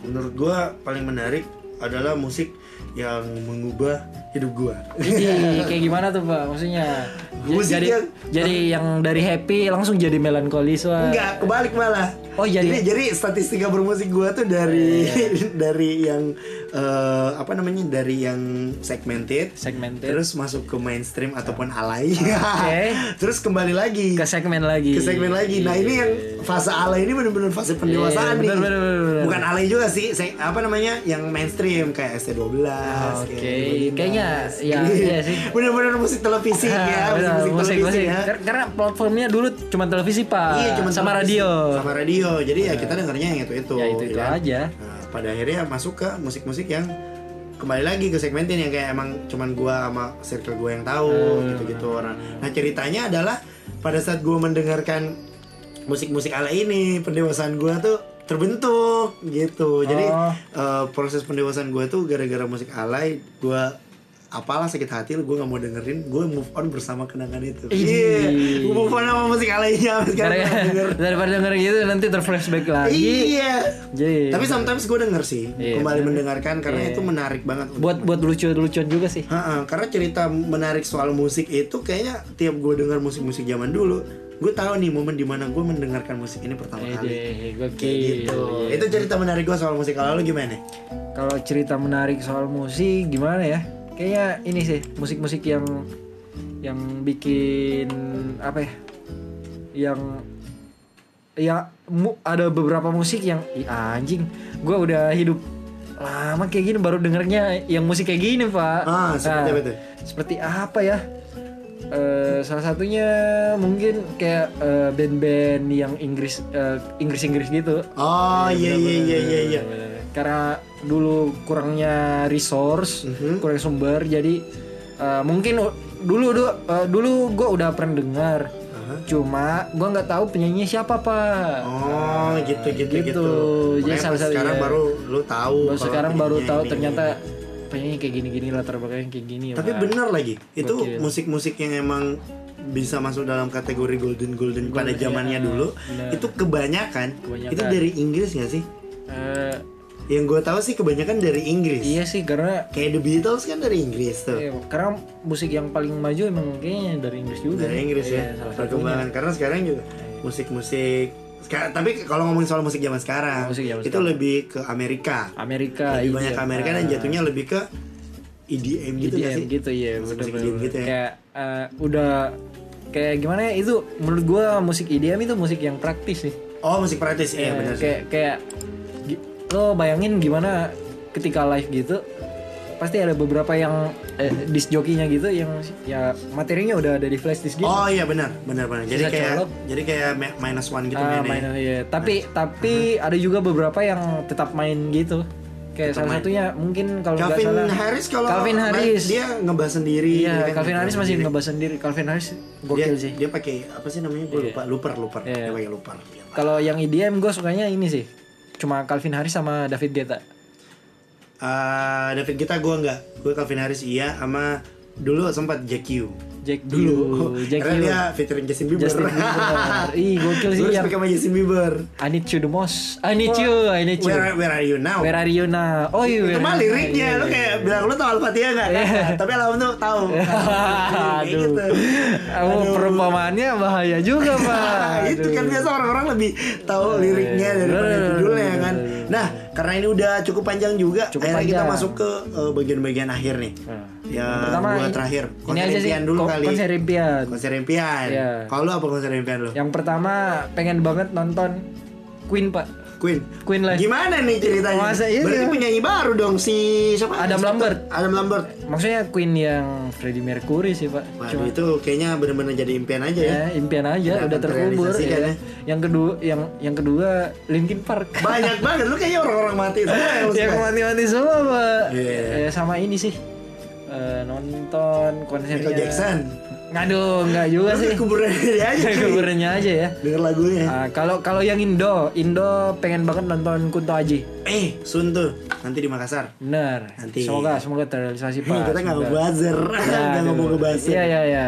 S2: menurut gua paling menarik adalah musik yang mengubah hidup gua.
S3: Eh. Ini kayak gimana tuh Pak? Maksudnya j-
S2: Musik
S3: jadi
S2: yang-
S3: jadi yang dari happy langsung jadi melankolis wah.
S2: Enggak, kebalik malah.
S3: Oh, jadi-
S2: jadi, jadi statistika bermusik gua tuh dari dari yang eh, apa namanya? dari yang segmented
S3: Segmented. Ah,
S2: terus masuk ke mainstream ataupun alay.
S3: Oke.
S2: terus kembali lagi
S3: Ke segmen lagi.
S2: ke segmen lagi. Nah ini yang fase alay ini bener-bener fase pendewasaan
S3: Iya, bener,
S2: nih.
S3: bener, bener, bener.
S2: Bukan alay juga sih, se- apa namanya yang mainstream kayak ST12.
S3: Ah, Oke,
S2: kayak Dewa
S3: kayaknya
S2: Dinas.
S3: ya iya sih.
S2: bener-bener musik televisi
S3: Ah,
S2: ya,
S3: benar,
S2: musik, musik televisi
S3: musik.
S2: ya.
S3: Kar- Karena platformnya dulu cuma televisi Pak.
S2: Iya, cuman
S3: sama
S2: televisi.
S3: radio.
S2: Sama radio. Jadi ya kita dengarnya yang itu-itu.
S3: Ya, itu-itu
S2: kan?
S3: aja.
S2: Nah, pada akhirnya masuk ke musik-musik yang kembali lagi ke segmentin yang kayak emang cuman gua sama circle gua yang tahu
S3: Hmm.
S2: gitu-gitu orang. Nah, ceritanya adalah pada saat gua mendengarkan musik-musik ala ini, pendewasaan gua tuh terbentuk gitu. Jadi
S3: Oh.
S2: eh, proses pendewasaan gua tuh gara-gara musik alay gua apalah sakit hati gue gak mau dengerin gue move on bersama kenangan itu
S3: Ih.
S2: iya gua move on sama musik alaynya sampai sekarang
S3: Gara-
S2: gua denger.
S3: daripada denger gitu nanti terflashback ya, lagi.
S2: Iya.
S3: Jadi
S2: Tapi sometimes gue denger sih, kembali
S3: Iya, bener. Iya.
S2: mendengarkan karena itu menarik banget. untuk-
S3: buat buat lucu-lucuan juga sih.
S2: Ha-ha, karena cerita menarik soal musik itu kayaknya tiap gue denger musik-musik zaman dulu, gue tahu nih momen dimana gue mendengarkan musik ini pertama
S3: Iya,
S2: kali.
S3: Ede,
S2: Kayak
S3: Eh, gokil.
S2: gitu.
S3: iya.
S2: Itu cerita menarik gue soal musik. Kalau lu gimana?
S3: Kalau cerita menarik soal musik gimana ya? Kayaknya ini sih musik-musik yang yang bikin apa ya? Yang ya mu- ada beberapa musik yang Ih, anjing. Gua udah hidup lama kayak gini baru dengernya yang musik kayak gini, Pak.
S2: Ah, seperti
S3: Nah,
S2: apa tuh?
S3: Seperti apa ya? Eh, salah satunya mungkin kayak eh, band-band yang Inggris eh, Inggris-Inggris gitu
S2: Oh iya iya iya iya. iya.
S3: karena dulu kurangnya resource,
S2: Mhm.
S3: kurang sumber, jadi uh, mungkin u- dulu dulu, uh, dulu gue udah pernah dengar,
S2: Aha.
S3: cuma gue nggak tahu penyanyi siapa pak.
S2: Oh gitu gitu
S3: gitu.
S2: gitu.
S3: Jadi
S2: Makanya
S3: salah satu-
S2: sekarang
S3: iya.
S2: baru lu tahu.
S3: Baru
S2: kalau
S3: sekarang baru
S2: penyanyi
S3: tahu
S2: ini.
S3: ternyata penyanyi kayak gini-gini latar belakangnya kayak gini. ya,
S2: Tapi
S3: Pak.
S2: bener lagi, itu
S3: Gokil.
S2: musik-musik yang emang bisa masuk dalam kategori golden golden pada
S3: Golden,
S2: zamannya
S3: iya.
S2: dulu,
S3: Bener.
S2: itu kebanyakan,
S3: Kebanyakan.
S2: itu dari Inggris nggak sih?
S3: Eh,
S2: Yang gue tahu sih kebanyakan dari Inggris.
S3: iya sih karena
S2: Kayak The Beatles kan dari Inggris tuh.
S3: iya, karena musik yang paling maju emang kayaknya dari Inggris juga.
S2: Dari Inggris
S3: Iya,
S2: ya.
S3: salah satunya.
S2: Perkembangan karena sekarang juga musik-musik sekarang, tapi kalau ngomongin soal musik zaman sekarang,
S3: Musik zaman
S2: itu
S3: sekarang.
S2: lebih ke Amerika.
S3: Amerika.
S2: lebih
S3: iya.
S2: banyak ke Amerika dan
S3: Ah.
S2: jatuhnya lebih ke EDM gitu nggak
S3: EDM
S2: sih?
S3: gitu ya
S2: Musik
S3: bener
S2: EDM gitu ya.
S3: kayak eh, udah kayak gimana ya itu menurut gua musik IDM itu musik yang praktis sih.
S2: Oh musik praktis, iya benar sih.
S3: kayak kayak gi- lo bayangin gimana ketika live gitu pasti ada beberapa yang eh, disc jokinya gitu yang ya materinya udah ada di flash disk gitu.
S2: Oh iya benar, benar benar. Jadi
S3: Bisa
S2: kayak
S3: colok.
S2: jadi kayak ma- minus one gitu
S3: Ah,
S2: mainnya. Uh-huh.
S3: mainan, iya. Tapi tapi ada juga beberapa yang tetap main gitu. Kayak salah satunya mungkin kalau nggak
S2: Calvin
S3: salah
S2: Harris kalau
S3: Calvin
S2: main,
S3: Harris.
S2: dia ngebahas sendiri.
S3: Iya,
S2: dia kan Iya.
S3: Calvin
S2: ngebahas
S3: Harris masih
S2: sendiri.
S3: ngebahas sendiri. Calvin Harris
S2: dia,
S3: gokil sih.
S2: dia pakai apa sih namanya? Gue lupa, luper, luper.
S3: Iya.
S2: Dia pakai luper. Iya.
S3: Kalau yang E IDM gue sukanya ini sih. Cuma Calvin Harris sama David Guetta.
S2: Eh, David Gita gue enggak. Gue Calvin Harris iya sama dulu sempat Jack Q.
S3: Jack
S2: Dulu.
S3: Yu, Jack
S2: Karena
S3: Yu.
S2: dia featuring Justin Bieber.
S3: Justin Bieber. Ih, gokil sih iya.
S2: Terus
S3: yang
S2: pakai sama Justin Bieber.
S3: I need you the most. I need you, I need you.
S2: Where, where are you now?
S3: Where are you now? Oh, you.
S2: itu mah liriknya
S3: iya,
S2: lu kayak bilang lu tau Al-Fatihah gak? Kagak. tapi Alham tuh tau Kayak
S3: Iya. Aduh.
S2: gitu.
S3: Oh, perumpamaannya bahaya juga, Pak.
S2: Nah, itu kan
S3: Aduh.
S2: biasa orang-orang lebih tahu liriknya daripada
S3: Iya, Bener.
S2: judulnya kan. Nah, karena ini udah cukup panjang juga,
S3: Cukup
S2: akhirnya kita
S3: panjang. Iya.
S2: masuk ke eh, bagian-bagian akhir nih. Ya,
S3: Pertama,
S2: dua
S3: ini-
S2: terakhir.
S3: ini
S2: Konser
S3: aja sih
S2: impian dulu
S3: ko-
S2: kali.
S3: konser impian.
S2: Konser impian.
S3: Iya. Ya.
S2: Kalau lu apa konser impian lu?
S3: Yang pertama pengen banget nonton Queen, Pak.
S2: Queen.
S3: Queen live.
S2: Gimana nih ceritanya?
S3: Masa iya?
S2: Berarti penyanyi baru dong si siapa?
S3: Adam Lambert.
S2: Adam Lambert.
S3: Maksudnya Queen yang Freddie Mercury sih, Pak.
S2: Waduh,
S3: Cuma
S2: itu kayaknya bener-bener jadi impian aja ya.
S3: ya, impian aja
S2: Tidak
S3: udah terkubur
S2: terrealisasikan,
S3: ya.
S2: ya.
S3: Yang kedua yang yang kedua Linkin Park.
S2: Banyak banget lu kayaknya orang-orang mati semua yang lu
S3: yang
S2: suka.
S3: mati-mati semua, Pak.
S2: Iya.
S3: Eh, sama ini sih. Eh, nonton konsernya
S2: Michael Jackson.
S3: Ngaduh, enggak juga
S2: Lu
S3: sih.
S2: Iya, kuburan dia aja. cuy.
S3: Kuburannya aja ya.
S2: Denger lagunya.
S3: Ah, kalau kalau yang Indo, Indo pengen banget nonton Kunto Aji.
S2: Eh, Sun tuh nanti di Makassar.
S3: Bener.
S2: Nanti.
S3: Semoga semoga terrealisasi
S2: Hmm,
S3: Pak.
S2: kita nggak
S3: Semoga. Nah,
S2: ngebuzzer, nggak ngomong ngebuzzer.
S3: Iya iya iya.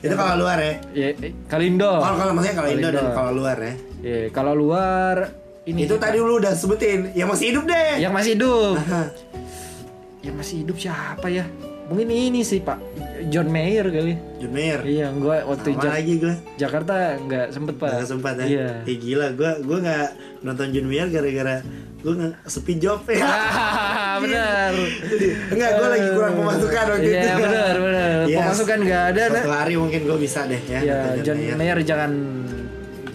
S2: Itu kalau luar ya.
S3: Ya, eh, kalau Indo.
S2: Kalau kalau maksudnya Oh. kalau Indo dan
S3: Indo.
S2: kalau luar ya.
S3: Ya, kalau luar ini
S2: Itu tadi lu udah sebutin, yang masih hidup deh.
S3: yang masih hidup.
S2: Hah,
S3: yang masih hidup siapa ya? Mungkin ini sih Pak John Mayer kali.
S2: John Mayer.
S3: Iya, gua waktu
S2: Sama
S3: Ja-
S2: lagi gue.
S3: Jakarta nggak sempet Pak.
S2: Gak sempat ya.
S3: Iya.
S2: Eh gila, gue gue nggak nonton John Mayer gara-gara gue nggak sepi job ya.
S3: Ah, benar.
S2: Enggak, gue lagi kurang pemasukan waktu
S3: Iya,
S2: itu.
S3: benar, benar.
S2: Yes.
S3: Pemasukan nggak ada, nah.
S2: Suatu hari mungkin gue bisa deh ya.
S3: Ya,
S2: nonton
S3: John
S2: Mayer.
S3: Mayer jangan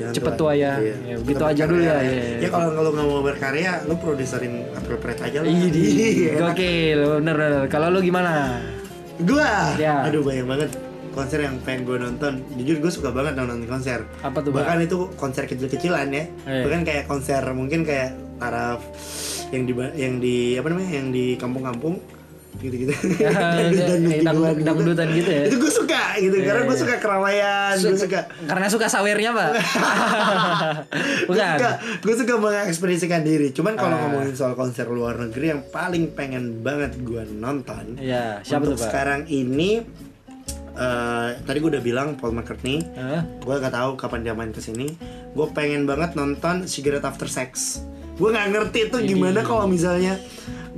S2: Jangan
S3: cepet tua ya.
S2: Iya.
S3: Ya, gitu
S2: Tetap
S3: aja dulu ya.
S2: berkarya
S3: Iya.
S2: Ya kalau lu nggak mau berkarya, lu produserin appropriate aja lah.
S3: Ih, di-
S2: Iya.
S3: Gokil, bener bener. Kalau lu gimana?
S2: Gua,
S3: Ya.
S2: aduh banyak banget konser yang pengen gue nonton. Jujur gue suka banget nonton konser.
S3: Apa tuh, Bang?
S2: Bahkan itu konser kecil-kecilan ya.
S3: Iya.
S2: Bahkan kayak konser mungkin kayak taraf yang di yang di apa namanya yang di kampung-kampung gitu-gitu
S3: Ya,
S2: Dangdut-dangdut
S3: eh, dangdut-
S2: gitu.
S3: dangdutan gitu ya.
S2: itu gue suka gitu karena gue suka keramaian gue suka
S3: Karena suka sawernya, Pak. Bukan. Ah.
S2: gue suka mengekspresikan diri cuman kalau ngomongin soal konser luar negeri yang paling pengen banget gue nonton
S3: Iya, siapa
S2: untuk
S3: tuh, Pak?
S2: sekarang ini eh, tadi gue udah bilang Paul McCartney
S3: Hah?
S2: gue gak tahu kapan dia main kesini gue pengen banget nonton Cigarette After Sex gue nggak ngerti tuh gimana kalau misalnya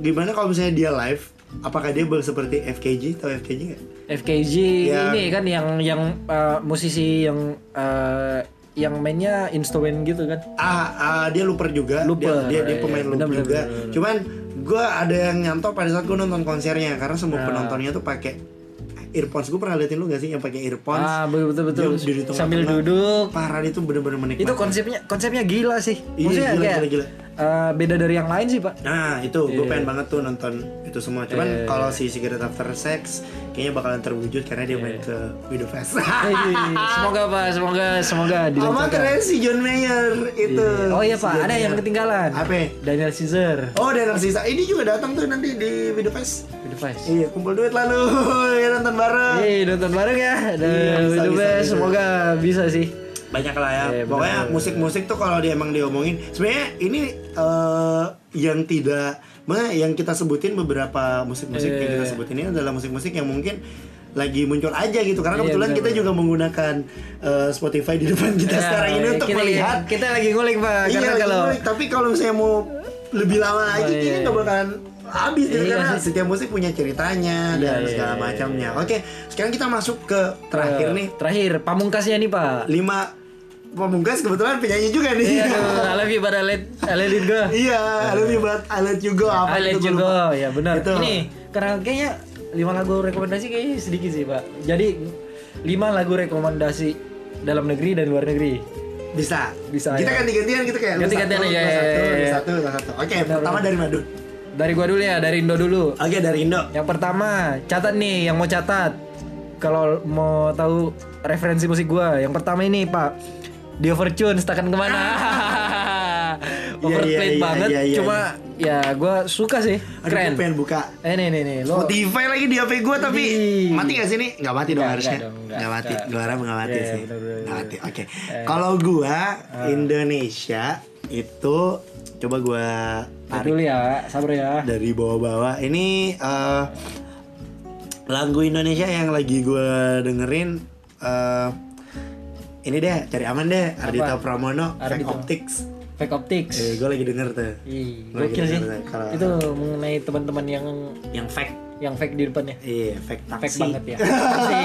S2: gimana kalau misalnya dia live apakah dia ber- seperti FKG atau FKG nggak
S3: FKG
S2: Ya.
S3: ini kan yang yang eh, musisi yang eh, yang mainnya instrumen gitu kan.
S2: Ah, ah, dia looper juga.
S3: Looper,
S2: dia, dia, dia
S3: iya,
S2: pemain
S3: benar,
S2: looper
S3: benar,
S2: juga.
S3: benar, benar.
S2: Cuman gue ada yang nyantol pada saat gue nonton konsernya karena
S3: Nah.
S2: semua penontonnya tuh pakai earphones. Gue pernah liatin lu gak sih yang pakai earphones?
S3: Ah, betul
S2: Dia di
S3: betul.
S2: tengah-tengah.
S3: Sambil duduk.
S2: Parah itu bener-bener menikmati.
S3: Ah. Itu konsepnya konsepnya gila sih.
S2: Iya,
S3: Maksudnya
S2: gila,
S3: kayak
S2: gila, gila.
S3: eh, beda dari yang lain sih, Pak.
S2: Nah itu gue
S3: Iya.
S2: pengen banget tuh nonton itu semua. Cuman kalau si Cigarette After Sex kayaknya bakalan terwujud karena
S3: Iya.
S2: dia main ke Widow Fest.
S3: Jadi, semoga Pak, semoga semoga
S2: Sama
S3: dilancarkan.
S2: keren si John Mayer itu.
S3: Oh iya
S2: Si
S3: Pak,
S2: John
S3: ada yang
S2: Mayer.
S3: ketinggalan.
S2: Apa?
S3: Daniel Caesar.
S2: Oh dan sisa ini juga datang tuh nanti di Widow Fest.
S3: The Vice.
S2: Iya, kumpul duit lalu ya, nonton bareng.
S3: Yeay, nonton bareng ya. Dan
S2: Iya, bisa,
S3: The
S2: bisa,
S3: Best,
S2: bisa.
S3: semoga bisa sih.
S2: Banyak lah ya.
S3: Iya, bener,
S2: Pokoknya
S3: bener.
S2: musik-musik tuh kalau dia emang diomongin, sebenarnya ini eh, yang tidak mana yang kita sebutin beberapa musik-musik yang
S3: Iya.
S2: kita sebutin ini adalah musik-musik yang mungkin lagi muncul aja gitu karena
S3: Iya,
S2: kebetulan
S3: bener,
S2: kita juga menggunakan eh, Spotify di depan kita
S3: Ya,
S2: sekarang ini untuk
S3: kita,
S2: melihat
S3: kita lagi ngulik Pak,
S2: Iya,
S3: karena
S2: lagi
S3: kalau
S2: ngulik. tapi kalau misalnya mau lebih lama lagi
S3: iya,
S2: ini nggak bakalan habis gitu
S3: Iya,
S2: karena
S3: sih.
S2: setiap musik punya ceritanya
S3: Iya,
S2: dan
S3: iya,
S2: segala
S3: iya, Eh,
S2: macamnya. Oke, sekarang kita masuk ke terakhir nih
S3: Terakhir, pamungkasnya nih Pak.
S2: lima pemungkas kebetulan penyanyi juga nih.
S3: Iya, aduh, I love you but I let, I let it go.
S2: Iya, I love you but I let you go apa Gitu.
S3: I let
S2: itu
S3: you
S2: gua
S3: go.
S2: lupa.
S3: Ya benar.
S2: Itu.
S3: Ini karena kayaknya lima lagu rekomendasi kayaknya sedikit sih Pak. Jadi 5 lagu rekomendasi dalam negeri dan luar negeri.
S2: Bisa.
S3: Bisa,
S2: kita
S3: ya.
S2: ganti gantian kita kayak lu
S3: Ganti-gantian,
S2: satu,
S3: iya,
S2: lu
S3: iya,
S2: satu,
S3: iya,
S2: lu
S3: iya.
S2: satu, lu satu. Oke, pertama dari Madu.
S3: Dari gua dulu ya, dari Indo dulu.
S2: Oke, dari Indo.
S3: Yang pertama, catat nih yang mau catat. Kalau mau tahu referensi musik gua, yang pertama ini, Pak. Dio Fortune setakan kemana? Overplayed
S2: Iya, iya, iya,
S3: banget,
S2: iya, iya.
S3: cuma ya gua suka sih,
S2: Aduh, gue
S3: keren.
S2: pengen buka
S3: Eh nih nih nih, lo
S2: Spotify lagi di HP gue tapi
S3: Ih.
S2: mati gak sih nih? Gak mati dong
S3: Nggak,
S2: harusnya.
S3: nggak dong, nggak,
S2: Gak mati.
S3: nggak.
S2: Gue harap gak mati
S3: Iya, Eh. Ah.
S2: sih.
S3: bener, bener,
S2: Gak
S3: bener.
S2: mati. Oke. Kalau gue Indonesia itu coba gue
S3: Tarik
S2: tarik
S3: dulu ya, sabar ya.
S2: dari bawah-bawah. Ini eh, lagu Indonesia yang lagi gue dengerin eh, ini deh cari aman deh Ardhito
S3: Apa?
S2: Pramono Fake
S3: Ardhito.
S2: Optics.
S3: Fake Optics.
S2: Eh, gue lagi denger tuh.
S3: Ih,
S2: Gua lagi
S3: gokil sih.
S2: denger tuh. Kalau-
S3: Itu mengenai teman-teman yang
S2: yang fake.
S3: yang fake di depannya.
S2: Iya, fake taksi.
S3: Fake banget ya. Taksi.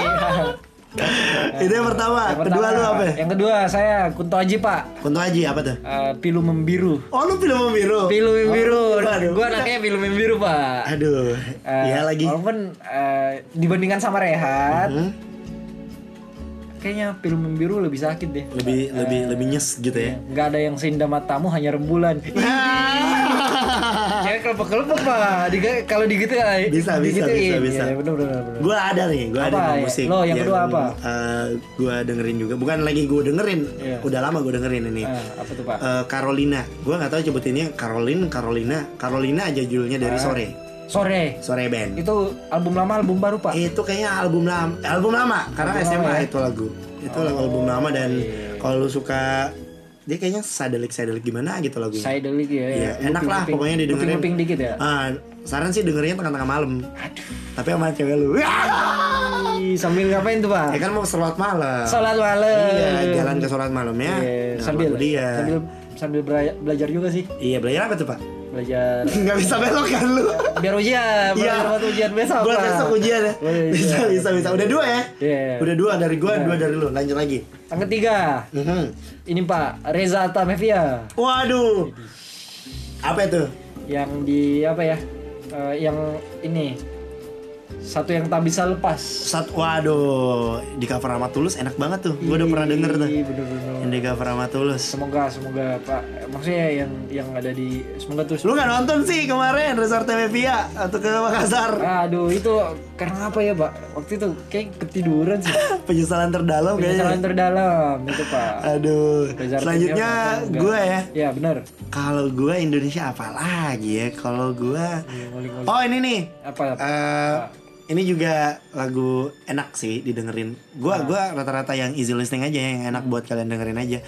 S2: itu yang pertama.
S3: Yang
S2: Kedua
S3: pertama,
S2: lu apa?
S3: Yang kedua saya Kunto Aji, Pak.
S2: Kunto Aji apa tuh?
S3: Eh, pilu membiru.
S2: Oh lu film sama biru?
S3: Pilu membiru.
S2: Oh, aduh.
S3: Gua anaknya pilu membiru, Pak.
S2: Aduh,
S3: Eh,
S2: iya lagi.
S3: Walaupun eh, dibandingkan sama Rehat,
S2: Hmm?
S3: kayaknya pilu membiru lebih sakit deh.
S2: Lebih lebih lebih nyes gitu ya.
S3: Nggak ada yang seindah matamu hanya rembulan. Cewek kelepek-kelepek pak. Diga- kalau digitu ya,
S2: Nah. Bisa, bisa, bisa, bisa.
S3: Ya, bener, bener, bener.
S2: Gua ada nih, gua ada
S3: Apa
S2: di
S3: ya?
S2: musik. Iya,
S3: Lo yang kedua apa?
S2: eh, gua dengerin juga, bukan lagi gua dengerin.
S3: Iya.
S2: Udah lama gua dengerin ini.
S3: Ah, apa tuh pak?
S2: Eh, Carolina, gua nggak tahu sebutinnya Caroline, Carolina, Carolina aja judulnya
S3: Eh.
S2: dari sore,
S3: Sore.
S2: sore band.
S3: Itu album lama, album baru pak.
S2: Itu kayaknya album lama, album lama karena
S3: Album
S2: SMA
S3: lama ya? Oh, iya.
S2: itu lagu. Itu album lama dan kalau lu suka dia kayaknya sadelik sadelik gimana gitu lagunya.
S3: Saya dulu ya.
S2: Iya, enak lah, pokoknya didengerin.
S3: Kuping dikit ya.
S2: Ah, saran sih dengerin tengah-tengah malam. Tapi sama cewek lu.
S3: Ih, Sambil ngapain tuh
S2: ya
S3: pak?
S2: kan mau sholat malam.
S3: Sholat malam.
S2: Iya, jalan ke sholat malamnya.
S3: Iya,
S2: dengar
S3: sambil,
S2: lagu dia.
S3: sambil sambil bela- belajar juga sih
S2: Iya, belajar apa tuh, Pak?
S3: belajar
S2: Nggak bisa belok kan lu.
S3: biar ujian
S2: Iya.
S3: belajar buat ujian besok
S2: Buat
S3: Pak.
S2: besok ujian ya.
S3: Iya, iya.
S2: Bisa, bisa, bisa. Udah dua ya?
S3: Iya.
S2: Udah dua dari gua, dua dari lu. Lanjut lagi.
S3: yang ketiga
S2: Mhm.
S3: ini pak Reza Atamevia
S2: Waduh. Apa itu?
S3: yang di apa ya eh, yang ini satu yang tak bisa lepas
S2: Sat, waduh, di cover sama Tulus enak banget tuh. Gua udah pernah denger tuh.
S3: Ih, bener-bener.
S2: Yang di cover sama Tulus.
S3: semoga semoga pak maksudnya yang yang ada di semoga terus
S2: Lu nggak nonton sih kemarin Resort TV Via atau ke Makassar?
S3: aduh itu karena apa ya pak waktu itu kayak ketiduran sih
S2: Penyesalan terdalam kayaknya.
S3: penyesalan terdalam itu pak
S2: Aduh.
S3: Reza Artamevia
S2: Selanjutnya
S3: merasa enggak.
S2: gue ya.
S3: ya benar
S2: Kalau gue Indonesia apa lagi ya? Kalau gue
S3: ngulik-ngulik
S2: Oh, ini nih.
S3: apa
S2: Eh, ini juga lagu enak sih didengerin. Gua gua rata-rata yang easy listening aja yang enak buat kalian dengerin aja.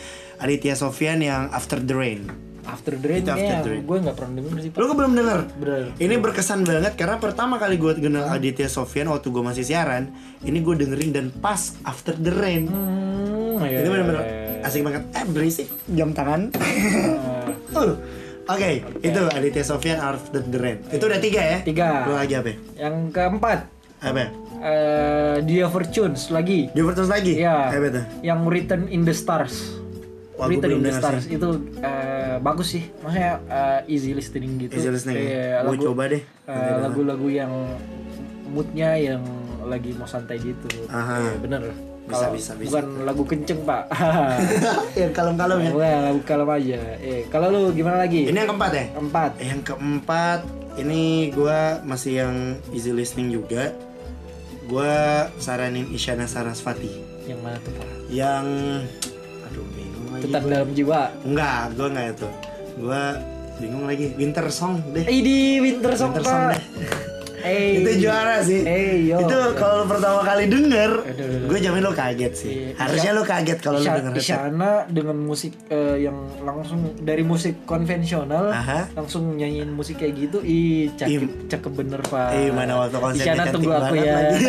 S2: Aditya Sofian yang After the Rain.
S3: after drain
S2: Itu After
S3: ya
S2: Drain.
S3: gue nggak pernah denger sih pak
S2: Lu kok belum denger?
S3: Bener.
S2: Ini berkesan banget karena pertama kali gue kenal Aditya Sofian waktu gue masih siaran, ini gue dengerin dan pas After the Rain.
S3: hmm, ya,
S2: Itu
S3: ya,
S2: bener-bener
S3: ya, ya.
S2: asik banget. Eh berisik jam tangan.
S3: Eh,
S2: Uh, Oke, itu Aditya Sofian After the Rain. Itu udah tiga ya?
S3: Tiga.
S2: Lu lagi apa? ya?
S3: yang keempat
S2: Apa? ya?
S3: eh Dia Fortunes lagi
S2: Dia terus lagi?
S3: Iya.
S2: Apa itu?
S3: yang Written in the Stars.
S2: Wah, gua
S3: Written
S2: belum
S3: in the
S2: denger
S3: Stars itu eh, bagus sih, maksudnya eh, easy listening gitu.
S2: Easy listening. Gua
S3: Kayak lagu-
S2: coba deh.
S3: eh, lagu-lagu yang moodnya yang lagi mau santai gitu.
S2: Aha.
S3: Iya, bener.
S2: Bisa,
S3: Kalau
S2: bisa, bisa.
S3: Bukan lagu kenceng pak.
S2: yang kalem-kalem ya.
S3: bukan lagu kalem aja. Eh, kalau lu gimana lagi?
S2: Ini yang keempat ya?
S3: Empat.
S2: Yang keempat, ini gua masih yang easy listening juga. Gua saranin Isyana Sarasvati.
S3: Yang mana tuh pak?
S2: Yang aduh bingung lagi.
S3: Tetap dalam jiwa.
S2: Enggak, gua enggak itu. Gua bingung lagi Winter Song deh.
S3: Idi Winter Song
S2: Winter Song
S3: pak.
S2: deh.
S3: Eh.
S2: Itu juara sih.
S3: Eh, yo.
S2: Itu kalau pertama kali denger,
S3: Aduh, aduh, aduh.
S2: gue jamin lo kaget sih.
S3: Iya.
S2: Harusnya lo kaget kalau lo
S3: Isya-
S2: denger itu.
S3: Isyana dengan musik eh, yang langsung dari musik konvensional
S2: Aha.
S3: langsung nyanyiin musik kayak gitu ih
S2: Im.
S3: cakep cakep bener pak
S2: Eh mana waktu konser
S3: Isyana tunggu aku ya
S2: lagi.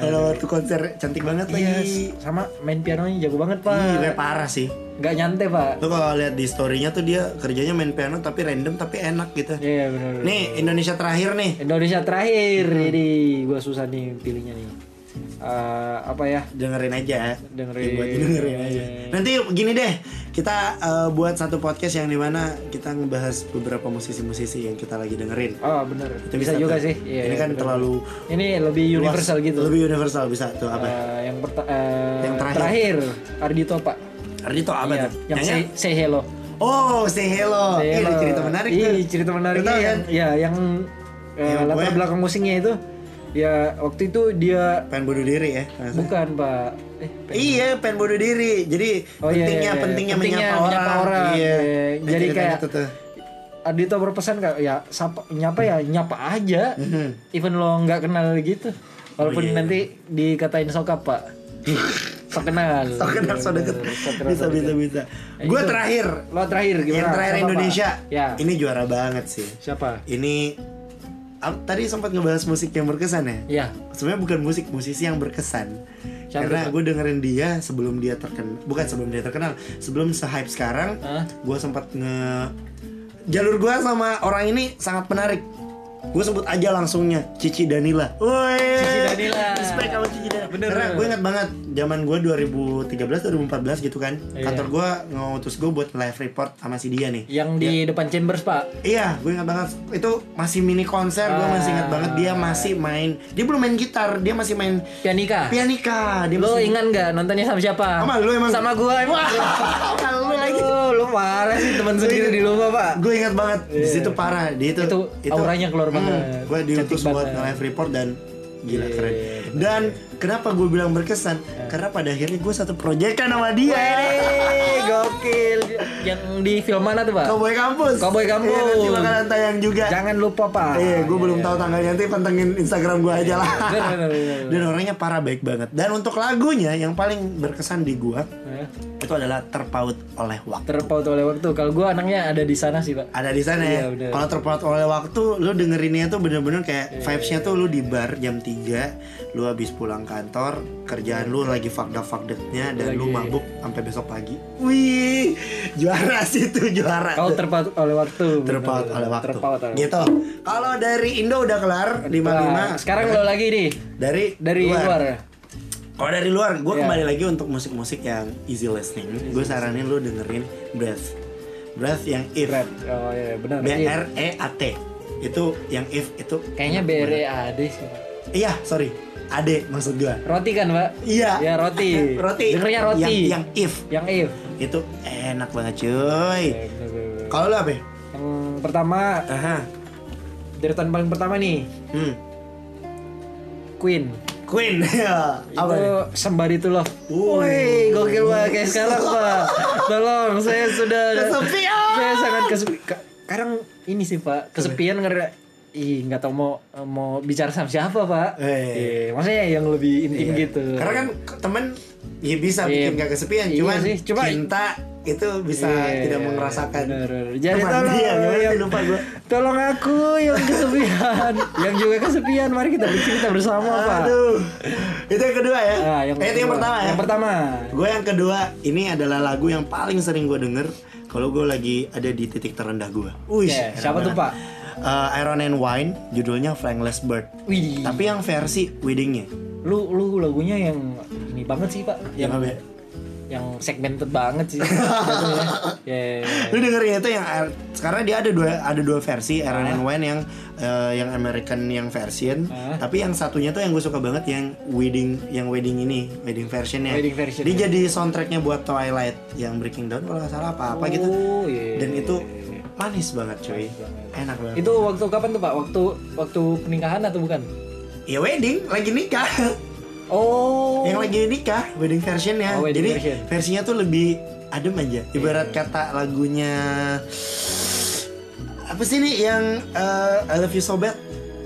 S2: mana waktu konser cantik banget
S3: Iya,
S2: lagi.
S3: sama main pianonya jago banget pak
S2: Iya parah sih.
S3: nggak nyantai pak
S2: Lo kalau lihat di story-nya tuh dia kerjanya main piano tapi random tapi enak gitu.
S3: iya bener
S2: Nih Indonesia terakhir nih. Hmm.
S3: Indonesia terakhir jadi gua susah nih pilihnya nih eh, apa ya
S2: dengerin aja
S3: Dengerin.
S2: Ya, buat dengerin aja nanti gini deh kita eh, buat satu podcast yang dimana kita ngebahas beberapa musisi-musisi yang kita lagi dengerin
S3: oh bener
S2: Itu
S3: bisa,
S2: bisa
S3: juga
S2: tuh.
S3: sih Iya,
S2: Ini
S3: iya,
S2: kan
S3: bener.
S2: terlalu
S3: ini lebih
S2: Luas,
S3: universal gitu
S2: lebih universal bisa tuh apa ya?
S3: Eh, yang, perta- eh,
S2: Yang terakhir.
S3: terakhir, Ardito Pak
S2: Ardito apa
S3: Iya,
S2: tuh
S3: yang
S2: Nyanyi?
S3: say, say hello
S2: oh say hello
S3: Say
S2: Iya, ada
S3: hello.
S2: cerita menarik
S3: Iya,
S2: tuh
S3: cerita menariknya
S2: Betul,
S3: yang
S2: kan?
S3: ya yang eh,
S2: Yang
S3: latar
S2: pokoknya-
S3: belakang musiknya itu ya waktu itu dia
S2: pengen bunuh diri ya Nggak salah.
S3: bukan Pak eh
S2: Iya, pengen bunuh diri. Jadi
S3: Oh,
S2: pentingnya,
S3: iya, iya, iya.
S2: pentingnya
S3: Pentingnya
S2: menyapa orang.
S3: menyapa orang.
S2: Iya.
S3: Iya.
S2: Nah,
S3: Jadi
S2: ceritanya
S3: kayak-
S2: itu tuh.
S3: Ardito berpesan kayak ya sapa, nyapa ya nyapa aja
S2: Mhm.
S3: even lo nggak kenal gitu walaupun
S2: Oh, iya.
S3: nanti dikatain sokap pak sok kenal
S2: Sok kenal,
S3: iya,
S2: sok kan? deket.
S3: Sok kenal,
S2: Bisa,
S3: sok
S2: bisa,
S3: deket.
S2: bisa.
S3: Ya,
S2: Gue
S3: itu.
S2: terakhir,
S3: lo terakhir gimana
S2: yang terakhir
S3: Siapa, Pak?
S2: Indonesia.
S3: ya
S2: Ini juara banget sih.
S3: siapa
S2: Ini am- tadi sempat ngebahas musik yang berkesan ya.
S3: ya
S2: Sebenarnya bukan musik, musisi yang berkesan.
S3: Siapa
S2: Karena
S3: itu?
S2: gue dengerin dia sebelum dia terkenal, bukan sebelum dia terkenal, sebelum se-hype sekarang,
S3: Hah?
S2: gue sempat nge jalur gue sama orang ini sangat menarik. Gue sebut aja langsungnya Cici Danila. Woi.
S3: Cici Danila.
S2: Respect sama Cici Danila.
S3: Bener.
S2: Karena gue ingat banget zaman gue 2013 2014 gitu kan.
S3: Iya.
S2: Kantor gue ngutus gue buat live report sama si dia nih.
S3: yang di
S2: Ya.
S3: depan chambers pak
S2: Iya, gue ingat banget itu masih mini konser, gue masih ingat banget dia
S3: Ah.
S2: masih main, dia belum main gitar, dia masih main
S3: pianika
S2: pianika, dia
S3: lo
S2: masih
S3: ingat nggak nontonnya sama siapa
S2: Sama lu emang.
S3: sama gua emang
S2: Sama Oh, lu lagi.
S3: Aduh, lo parah sih teman sendiri di rumah pak
S2: Gue ingat banget di
S3: Iya.
S2: situ parah, dia itu Hmm,
S3: Itu auranya keluar banget.
S2: gue diutus
S3: Cantik
S2: buat
S3: banget.
S2: live report dan gila
S3: Iya,
S2: keren.
S3: iya, bener.
S2: Dan kenapa gue bilang berkesan? Karena pada akhirnya gue satu proyekan sama
S3: Iya,
S2: dia.
S3: Wey, gokil yang di film mana tuh pak
S2: Cowboy kampus.
S3: Cowboy Kampus.
S2: Iya, nanti bakalan tayang juga.
S3: jangan lupa pak
S2: Iya, gue belum tahu tanggalnya nanti pantengin Instagram gue aja lah.
S3: Bener, bener, bener, bener.
S2: Dan orangnya parah baik banget. Dan untuk lagunya yang paling berkesan di gue
S3: Eh,
S2: itu adalah terpaut oleh waktu.
S3: terpaut oleh waktu kalau gua anaknya ada di sana sih pak
S2: Ada di sana
S3: Iya,
S2: ya.
S3: bener. Iya.
S2: Kalau terpaut oleh waktu, lu dengerinnya tuh bener-bener kayak vibesnya tuh lu di bar jam 3 lu habis pulang kantor, kerjaan lu lagi fakda-fakdeknya dan lu
S3: Iya, Lagi.
S2: mabuk sampai besok pagi. Wih, juara sih tuh juara.
S3: Kau
S2: tuh.
S3: terpaut oleh waktu.
S2: terpaut
S3: bener.
S2: oleh waktu.
S3: Terpaut oleh
S2: gitu. Kalau dari Indo udah kelar
S3: waktu.
S2: 55.
S3: Nah, sekarang lo lagi nih
S2: dari
S3: dari luar. ya?
S2: Kalau dari luar, gue
S3: Iya.
S2: kembali lagi untuk musik-musik yang easy listening. Gue saranin lu dengerin Breath, Breath yang If,
S3: Berat. Oh iya benar.
S2: B R E A T. Itu yang If itu.
S3: Kayaknya BRAD sih. Pak.
S2: Iya, sorry, Ade maksud gue.
S3: Roti kan, Pak?
S2: Iya.
S3: Ya roti.
S2: roti.
S3: Dengernya roti.
S2: Yang, yang If
S3: yang if.
S2: itu enak banget cuy.
S3: Ya, bener, bener, bener.
S2: Kalau lu apa? ya?
S3: Yang pertama,
S2: Aha.
S3: deretan paling pertama nih,
S2: Hmm.
S3: Queen.
S2: Queen. ya. apa?
S3: itu
S2: nih?
S3: sembari to love.
S2: Wuh.
S3: Woi, gokil Pak kayak sekarang, Pak. Tolong, saya sudah
S2: Kesepian.
S3: Saya sangat kesepian. Sekarang ini sih, Pak, kesepian karena ih nggak tahu mau mau bicara sama siapa, Pak.
S2: Eh.
S3: Iya, maksudnya yang lebih intim
S2: Iya.
S3: gitu.
S2: Karena kan temen ya bisa
S3: Iya.
S2: bikin gak kesepian,
S3: Iya
S2: cuman
S3: sih, cuma-
S2: cinta itu bisa
S3: Iya,
S2: tidak merasakan.
S3: bener, bener. Jadi
S2: Teman
S3: tolong
S2: dia, gimana sih,
S3: yang-
S2: lupa gua.
S3: Tolong aku yang kesepian, yang juga kesepian. Mari kita bercerita bersama, Pak.
S2: Aduh, itu yang kedua ya.
S3: Nah, yang
S2: eh, itu yang
S3: kedua.
S2: pertama ya.
S3: Yang pertama.
S2: Gue yang kedua, ini adalah lagu yang paling sering gue denger kalau gue lagi ada di titik terendah gue. Wih,
S3: Oke,
S2: enak
S3: siapa tuh,
S2: banget.
S3: Pak?
S2: Eh, Iron and Wine, judulnya Flangless Bird.
S3: Wih.
S2: Tapi yang versi weddingnya.
S3: lu lu lagunya yang ini banget sih pak
S2: Yang
S3: yang
S2: apa ya?
S3: yang segmented banget sih jatuhnya. ya ya, ya.
S2: lu dengerin itu yang air- sekarang dia ada dua ada dua versi Iron and Wine yang eh, yang American yang version
S3: Ah.
S2: tapi yang satunya tuh yang gue suka banget yang wedding yang wedding ini wedding versionnya
S3: Wedding version,
S2: dia
S3: ya.
S2: jadi soundtracknya buat Twilight yang Breaking Down kalau nggak salah apa apa gitu
S3: Oh, iya.
S2: dan itu manis banget cuy
S3: Manis banget.
S2: enak banget
S3: itu waktu kapan tuh pak waktu waktu pernikahan atau bukan
S2: ya wedding lagi nikah
S3: oh
S2: yang lagi nikah wedding versionnya
S3: Oh, wedding
S2: jadi
S3: version. Iya.
S2: versinya tuh lebih adem aja ibarat kata lagunya apa sih nih yang eh, I love you so bad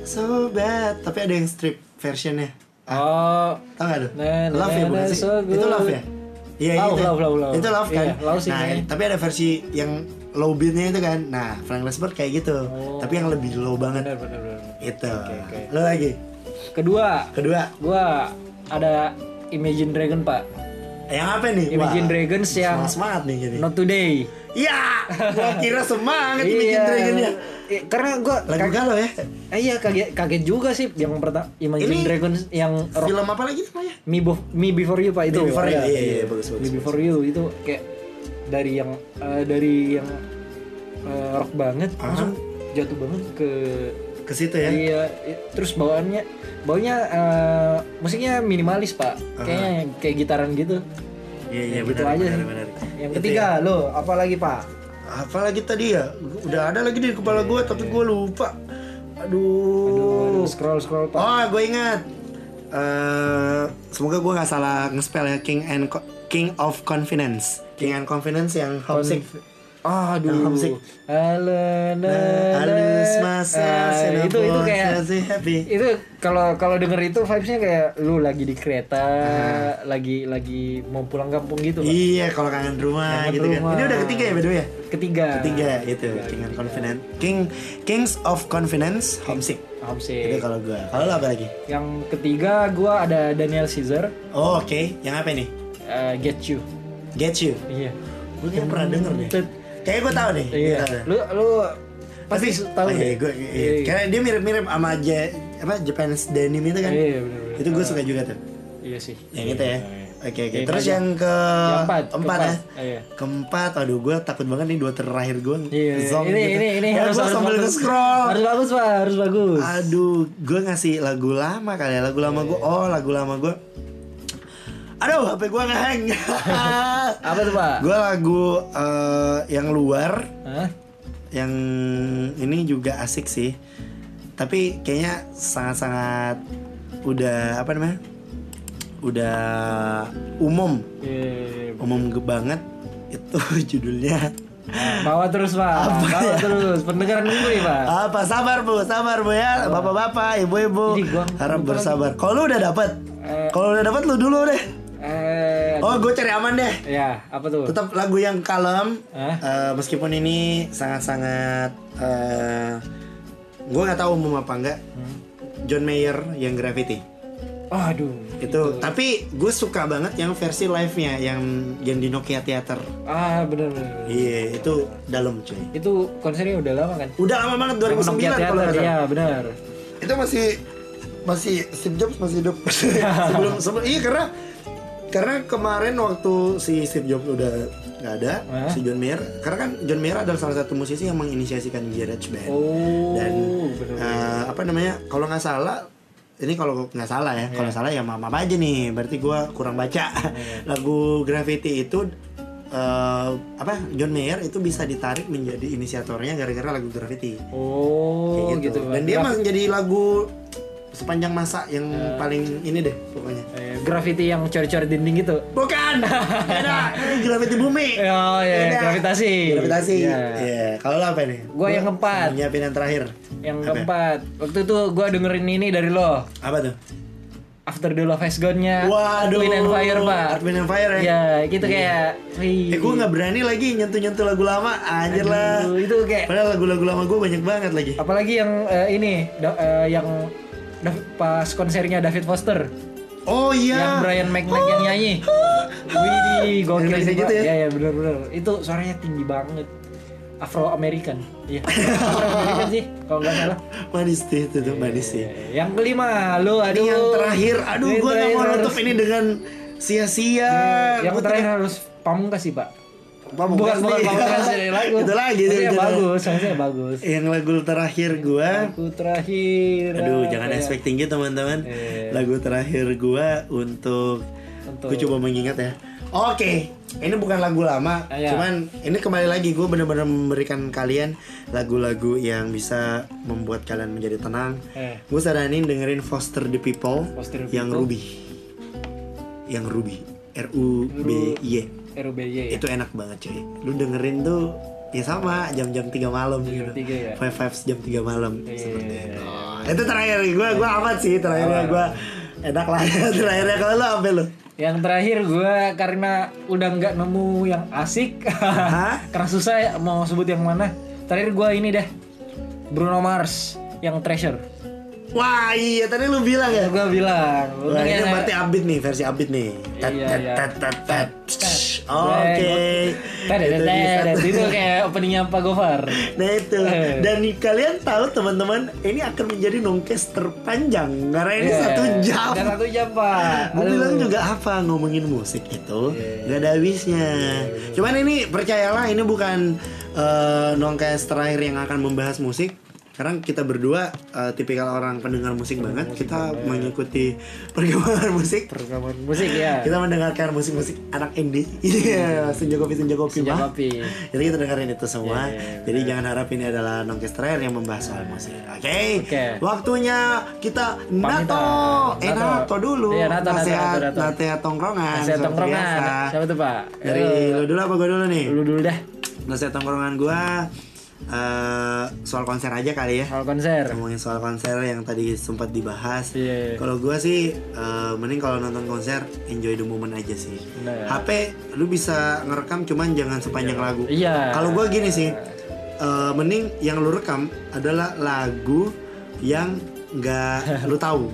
S2: so bad tapi ada yang strip versionnya
S3: oh
S2: tau gak tuh
S3: Na, na,
S2: love ya
S3: na,
S2: bukan
S3: na,
S2: sih
S3: so good.
S2: itu love ya Iya
S3: Love,
S2: itu.
S3: love, love, love.
S2: Itu love kan.
S3: Iya, love sih
S2: nah,
S3: kayaknya.
S2: tapi ada versi yang low beatnya itu kan. Nah, Frank Lesbert kayak gitu.
S3: Oh.
S2: Tapi yang lebih low banget
S3: benar benar benar
S2: itu.
S3: oke.
S2: Lo lagi.
S3: kedua
S2: Kedua,
S3: gua ada Imagine Dragon pak
S2: yang apa nih?
S3: Imagine
S2: Wah,
S3: Dragons yang
S2: semangat- Semangat nih jadi.
S3: Not Today
S2: Ya, gua kira semangat ini bikin
S3: Iya.
S2: dragonnya.
S3: Eh, Karena gue
S2: ya? Lagu galau ya.
S3: iya kaget kaget juga sih yang pertama Imagine
S2: Ini
S3: Dragons yang rock
S2: Film apa lagi namanya?
S3: Me, Bo- Me Before You pak itu.
S2: Me Before You,
S3: Iya.
S2: iya, iya, bagus, bagus,
S3: Me Before You itu kayak dari yang eh, dari yang eh, rock banget langsung jatuh banget ke
S2: Ke situ ya.
S3: Iya, i- terus bawaannya bawaannya eh, musiknya minimalis pak, kayaknya kayak gitaran gitu.
S2: Iya, iya,
S3: Ya, gitu
S2: benar,
S3: aja
S2: benar,
S3: sih.
S2: benar. Gitu ya.
S3: Yang
S2: Itu
S3: ketiga lo, apa lagi pak?
S2: Apalagi tadi ya? Udah ada lagi di kepala gua tapi gua lupa. Aduh.
S3: Aduh, scroll scroll pak.
S2: Oh, gue ingat. Eh, semoga gue nggak salah ngespell ya King and Co- King of Confidence. King and Confidence yang homesick.
S3: Aduh,
S2: Yang homesick.
S3: Halo, na- na-
S2: Halus masa
S3: Ah,
S2: Singapore,
S3: itu itu kayak
S2: so happy.
S3: itu kalau kalau denger itu vibesnya kayak lu lagi di kereta, lagi lagi mau pulang kampung gitu. Pak.
S2: Ah. Iya, kalau kangen rumah
S3: Kangen
S2: gitu
S3: rumah.
S2: kan. Ini udah ketiga ya by the way ya?
S3: Ketiga.
S2: Ketiga iya. itu King and Confidence. King Kings of Confidence homesick. Itu
S3: Homesick.
S2: kalau gue. Kalau lo apa lagi?
S3: Yang ketiga gua ada Daniel Caesar,
S2: Oh, oke. Yang apa nih?
S3: eh, Get You.
S2: Get You.
S3: Iya.
S2: Gue kayak pernah denger deh. Kayaknya gue tahu deh.
S3: Iya.
S2: Gua tahu deh.
S3: Lu lu pasti tahu
S2: Ah,
S3: deh.
S2: iya, gua- iya. Karena dia mirip-mirip sama J- apa Japanese denim itu kan.
S3: Iya, iya, bener-bener.
S2: Itu gue suka juga tuh.
S3: Iya sih.
S2: Yang itu ya. Oke oke.
S3: Iya,
S2: Terus
S3: iya.
S2: yang ke
S3: Yang empat,
S2: empat ya.
S3: keempat. Iya.
S2: Keempat, aduh gue takut banget nih dua terakhir gue.
S3: Iya, ini, ini ini harus harus
S2: gitu. sambil
S3: bagus.
S2: nge-scroll.
S3: Harus bagus, Pak, harus bagus. Iya,
S2: Aduh, gue ngasih lagu lama kali ya. Lagu lama gue. Oh, lagu lama gue. Aduh, HP gue ngehang.
S3: Apa tuh, Pak?
S2: gue lagu eh, yang luar,
S3: Hah?
S2: yang ini juga asik sih. Tapi kayaknya sangat-sangat udah apa namanya? Udah umum,
S3: Iya.
S2: umum ge- banget. Itu judulnya.
S3: Bawa terus, Pak.
S2: ya?
S3: Bawa terus. Pendengar nunggu nih, Pak.
S2: Apa sabar bu, sabar bu ya, bapak-bapak, ibu-ibu,
S3: Jadi gua Eh.
S2: harap
S3: lupa
S2: bersabar. Kalau lu udah dapat, kalau udah dapat lu dulu deh.
S3: Eh,
S2: Oh, gue cari aman deh.
S3: ya, apa tuh?
S2: Tetap lagu yang kalem,
S3: Hah?
S2: eh, meskipun ini sangat-sangat, eh gue nggak tahu umum apa enggak.
S3: Hmm.
S2: John Mayer yang Gravity
S3: Oh, aduh.
S2: itu, tapi gue suka banget yang versi live-nya yang yang di Nokia Theater.
S3: Ah, benar benar. benar.
S2: Iya, itu dalam cuy.
S3: Itu konsernya udah lama kan?
S2: Udah lama banget 2009
S3: Nokia
S2: kalau nggak
S3: Theater,
S2: salah.
S3: Iya, benar.
S2: itu masih masih Steve Jobs masih hidup sebelum sebelum iya karena karena kemarin waktu si Steve Jobs udah nggak ada
S3: Hah?
S2: si John Mayer karena kan John Mayer adalah salah satu musisi yang menginisiasikan GarageBand
S3: Oh,
S2: dan
S3: benar.
S2: eh, apa namanya kalau nggak salah ini kalau nggak salah ya
S3: Iya.
S2: kalau salah ya mama aja nih berarti gua kurang baca lagu Gravity itu eh, apa John Mayer itu bisa ditarik menjadi inisiatornya gara-gara lagu Gravity Kayak
S3: Oh, gitu.
S2: gitu.
S3: Pak.
S2: Dan dia
S3: Gra-
S2: mah jadi lagu sepanjang masa yang
S3: Ya.
S2: paling ini deh pokoknya.
S3: eh, graffiti yang cor-cor dinding gitu.
S2: Bukan. Beda. Ini Gravity Bumi.
S3: Oh, iya,
S2: Beda.
S3: gravitasi.
S2: Gravitasi. Iya.
S3: Iya.
S2: Kalau lo apa nih?
S3: Gua yang keempat.
S2: mau Nyiapin yang terakhir.
S3: Yang
S2: Apa? ya?
S3: keempat, waktu itu gua dengerin ini dari lo.
S2: Apa tuh?
S3: After the Love Has Gone-nya
S2: Waduh.
S3: Wind and Fire, Pak.
S2: Earth, Wind and Fire ya.
S3: Iya, gitu kayak wih.
S2: Eh gue nggak berani lagi nyentuh-nyentuh lagu lama. Anjir lah.
S3: Aduh, itu kayak
S2: Padahal lagu-lagu lama gue banyak banget lagi.
S3: apalagi yang eh, ini da- eh, yang Dav- pas konsernya David Foster
S2: Oh iya.
S3: yang Brian McKnight yang nyanyi Widih, gokil
S2: Yang
S3: sih,
S2: gitu
S3: Pak.
S2: ya?
S3: ya ya benar-benar itu suaranya tinggi banget Afro American iya Afro American sih kalau nggak salah
S2: Manis sih itu tuh manis sih.
S3: Eh, yang kelima lu aduh
S2: Ini yang terakhir. Aduh
S3: Ini
S2: gue nggak mau
S3: terakhir
S2: nutup
S3: harus- Iya,
S2: ini dengan sia-sia.
S3: yang
S2: Gua
S3: terakhir harus pamungkas sih pak
S2: Pamungkas
S3: bukan
S2: nih.
S3: bukan pamungkas dari lagu
S2: Itu lagi, Iya. itu-
S3: Maksudnya
S2: itu.
S3: bagus maksudnya bagus
S2: yang lagu terakhir gua
S3: Aku terakhir.
S2: aduh
S3: apa
S2: jangan
S3: ya?
S2: expect tinggi teman-teman
S3: Iya.
S2: lagu terakhir gua untuk
S3: Untuk-
S2: gue coba mengingat ya oke ini bukan lagu lama
S3: Ah, ya.
S2: cuman ini kembali lagi gue bener-bener memberikan kalian lagu-lagu yang bisa membuat kalian menjadi tenang
S3: Eh.
S2: gue saranin dengerin Foster the People
S3: Foster the
S2: yang
S3: People.
S2: Ruby yang Ruby R U B E. Y
S3: RUBY ya.
S2: itu enak banget cuy lu dengerin tuh ya sama jam-jam 3 malam
S3: Jam
S2: gitu
S3: tiga ya?
S2: five fives jam 3 malam
S3: Iya.
S2: seperti itu Oh, itu terakhir gue gue amat sih terakhirnya gue enak lah terakhirnya kalau lu apa lu
S3: Yang terakhir gue karena udah nggak nemu yang asik,
S2: Hah?
S3: karena susah ya, mau sebut yang mana. Terakhir gue ini deh Bruno Mars yang Treasure.
S2: wah iya tadi lu bilang ya
S3: Gue bilang.
S2: Wah,
S3: untungnya
S2: ini
S3: nggak-
S2: berarti update nih versi update nih. Tet,
S3: Iya,
S2: tet,
S3: iya.
S2: tet, tet, tet. Psh, Oke. Itu dia.
S3: Tedet, itu Eh. kayak openingnya Pak Gofar.
S2: Nah itu Dan kalian tahu teman-teman Ini akan menjadi nongkes terpanjang Karena ini
S3: Iya.
S2: satu jam
S3: Dan satu jam Pak.
S2: Gue
S3: Aduh.
S2: bilang juga apa ngomongin musik itu nggak ada habisnya. Cuman ini percayalah ini bukan eh, nongkes terakhir yang akan membahas musik. Sekarang kita berdua eh, tipikal orang pendengar musik banget. kita mengikuti perkembangan musik.
S3: Rekaman musik ya.
S2: Kita mendengarkan musik-musik anak indie. Iya, senja kopi senja kopi
S3: Senja
S2: Bah.
S3: kopi.
S2: Jadi kita dengerin itu
S3: Iya,
S2: semua. Jadi jangan harap ini adalah nongkes terakhir yang membahas soal musik. Oke.
S3: Oke.
S2: Waktunya kita
S3: Pamitan.
S2: nato. Eh
S3: Nato.
S2: nato dulu.
S3: Iya, nato, nato,
S2: Nasihat-
S3: nato, nato.
S2: nasihat tongkrongan.
S3: Saya
S2: seperti
S3: tongkrongan.
S2: Kan, biasa.
S3: Siapa tuh Pak?
S2: Dari lu dulu apa gue dulu nih?
S3: Lu dulu dah.
S2: Nasihat tongkrongan gua eh, soal konser aja kali ya.
S3: Soal konser.
S2: Ngomongin soal konser yang tadi sempat dibahas.
S3: Iya.
S2: Kalau gua sih eh, mending kalau nonton konser enjoy the moment aja sih.
S3: Bener.
S2: HP lu bisa ngerekam cuman jangan sepanjang lagu.
S3: Iya.
S2: Kalau gua gini sih, eh, mending yang lu rekam adalah lagu yang nggak lu tahu.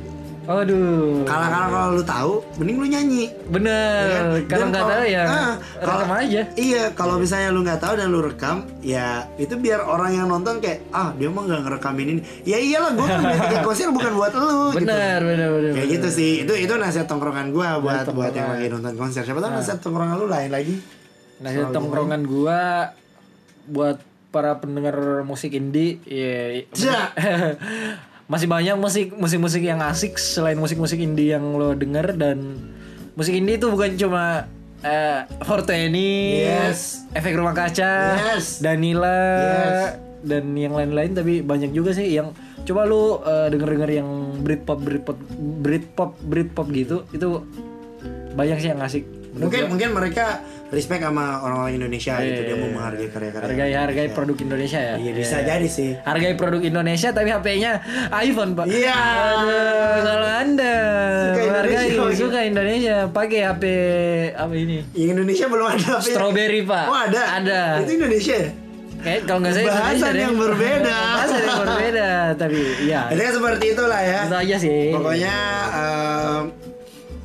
S3: Aduh.
S2: Kalau kalau kalau lu tahu, mending lu nyanyi.
S3: Bener.
S2: ya kan?
S3: Kalau
S2: Dan
S3: nggak tahu ya
S2: ah, kalau-
S3: rekam aja.
S2: Iya, kalau misalnya lu nggak tahu dan lu rekam, ya itu biar orang yang nonton kayak ah dia mah nggak ngerekam ini. Ya iyalah gua kan beli tiket konser bukan buat lu. gitu.
S3: Bener, bener, bener.
S2: Kayak
S3: bener.
S2: gitu sih. Itu itu nasihat tongkrongan gua buat buat yang lagi nonton konser. Siapa
S3: Ah.
S2: tahu nasihat tongkrongan lu lain lagi.
S3: Nasihat tongkrongan gua buat para pendengar musik indie, ya
S2: Ja.
S3: masih banyak musik musik musik yang asik selain musik musik indie yang lo denger dan musik indie itu bukan cuma eh Forteni,
S2: Yes.
S3: efek rumah kaca,
S2: Yes.
S3: Danila,
S2: Yes.
S3: dan yang lain-lain. Tapi banyak juga sih yang coba lu eh, denger-denger yang Britpop, Britpop, Britpop, Britpop gitu. Itu banyak sih yang asik. Menurut
S2: Mungkin mungkin mereka respect sama orang-orang Indonesia gitu dia mau menghargai karya-karya.
S3: Iya. hargai ya. hargai produk Indonesia ya
S2: Iya bisa jadi sih.
S3: hargai produk Indonesia tapi HP-nya iPhone pak
S2: Iya.
S3: Aduh, kalau anda
S2: Suka
S3: hargai
S2: Indonesia. oh, iya.
S3: suka Indonesia pakai HP apa ini
S2: Yang Indonesia belum ada. apa ya?
S3: Strawberry, Pak.
S2: Oh ada.
S3: Ada.
S2: Itu Indonesia. ya?
S3: kayak kalau nggak saya
S2: Bahasan yang berbeda.
S3: bahasan yang berbeda tapi ya
S2: Akhirnya seperti itulah ya.
S3: itu aja sih
S2: Pokoknya em, eh,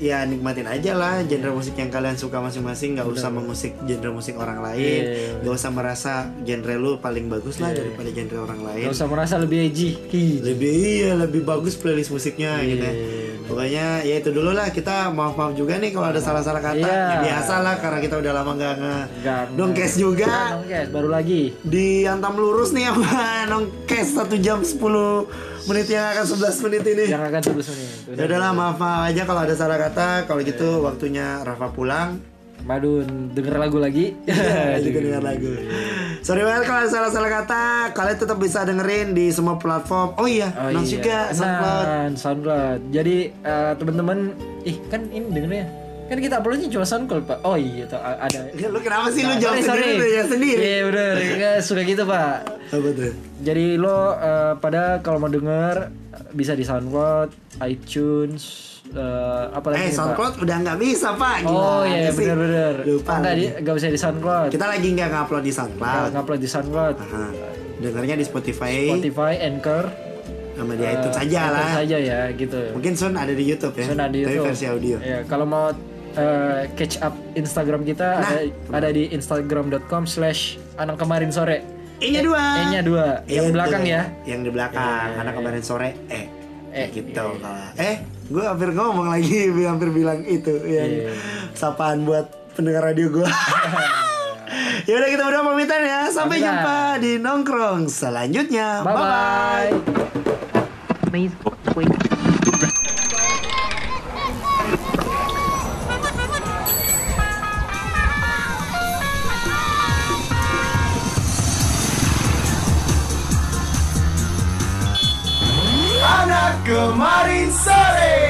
S2: ya nikmatin aja lah genre musik yang kalian suka masing-masing nggak usah mengusik genre musik orang lain
S3: Iya.
S2: nggak usah merasa genre lu paling bagus lah daripada genre orang lain
S3: nggak usah merasa lebih edgy Hi.
S2: lebih iya lebih bagus playlist musiknya
S3: Iya,
S2: gitu ya pokoknya ya itu dulu lah kita maaf maaf juga nih kalau ada salah salah kata
S3: Iya.
S2: ya biasa lah karena kita udah lama nggak nge
S3: Nggak
S2: dongkes juga
S3: Oke, guys, baru lagi
S2: diantam lurus nih sama nongkes satu jam 10 menit yang akan 11 menit ini
S3: yang akan terus menit
S2: Ya udahlah maaf maaf aja kalau ada salah kata kalau
S3: Iya,
S2: gitu waktunya Rafa pulang
S3: Madun denger lagu lagi
S2: juga dengar lagu sorry banget kalau ada salah salah kata kalian tetap bisa dengerin di semua platform oh iya
S3: Oh
S2: Nons
S3: iya.
S2: juga SoundCloud
S3: Nan, SoundCloud. Jadi eh, teman-teman, ih kan ini dengernya. Kan kita uploadnya cuma SoundCloud, Pak. Oh iya, tuh, a- ada.
S2: Ya, lu kenapa sih lu
S3: Nah,
S2: jawab
S3: sorry,
S2: sendiri
S3: sorry.
S2: lu ya sendiri
S3: Iya, bener. Nggak, suka gitu, Pak.
S2: apa tuh
S3: Jadi lo eh, pada kalau mau denger bisa di SoundCloud, iTunes, eh, apa
S2: eh
S3: lagi? nih, Pak?
S2: SoundCloud udah nggak bisa pak
S3: Oh iya,
S2: Gimana sih?
S3: bener-bener.
S2: lupa
S3: Nggak, di,
S2: lagi.
S3: nggak bisa di SoundCloud.
S2: kita lagi nggak ngupload di SoundCloud
S3: Nggak upload di SoundCloud.
S2: Aha. dengarnya di Spotify,
S3: Spotify, Anchor,
S2: sama di iTunes aja
S3: Anchor
S2: lah
S3: saja ya gitu.
S2: mungkin soon ada di YouTube ya
S3: Soon ada Nah, di
S2: tapi
S3: YouTube.
S2: versi audio
S3: Iya, kalau mau eh, catch up Instagram kita
S2: Nah,
S3: ada, ada di instagram.com slash anak kemarin sore.
S2: E-nya Iya, dua. Iya,
S3: E-nya dua. Yang
S2: Itu,
S3: belakang ya. Iya,
S2: Yang di belakang. Karena kemarin sore eh
S3: Eh,
S2: gitu. kalau- Eh, gue hampir ngomong lagi, gua hampir bilang itu yang
S3: Iya.
S2: sapaan buat pendengar radio gue. ya udah kita berdua pamitan ya. Sampai
S3: Pamitan.
S2: jumpa di nongkrong selanjutnya.
S3: Bye-bye.
S2: Bye-bye.
S4: Please wait.
S2: Anak Nah, kemarin sore.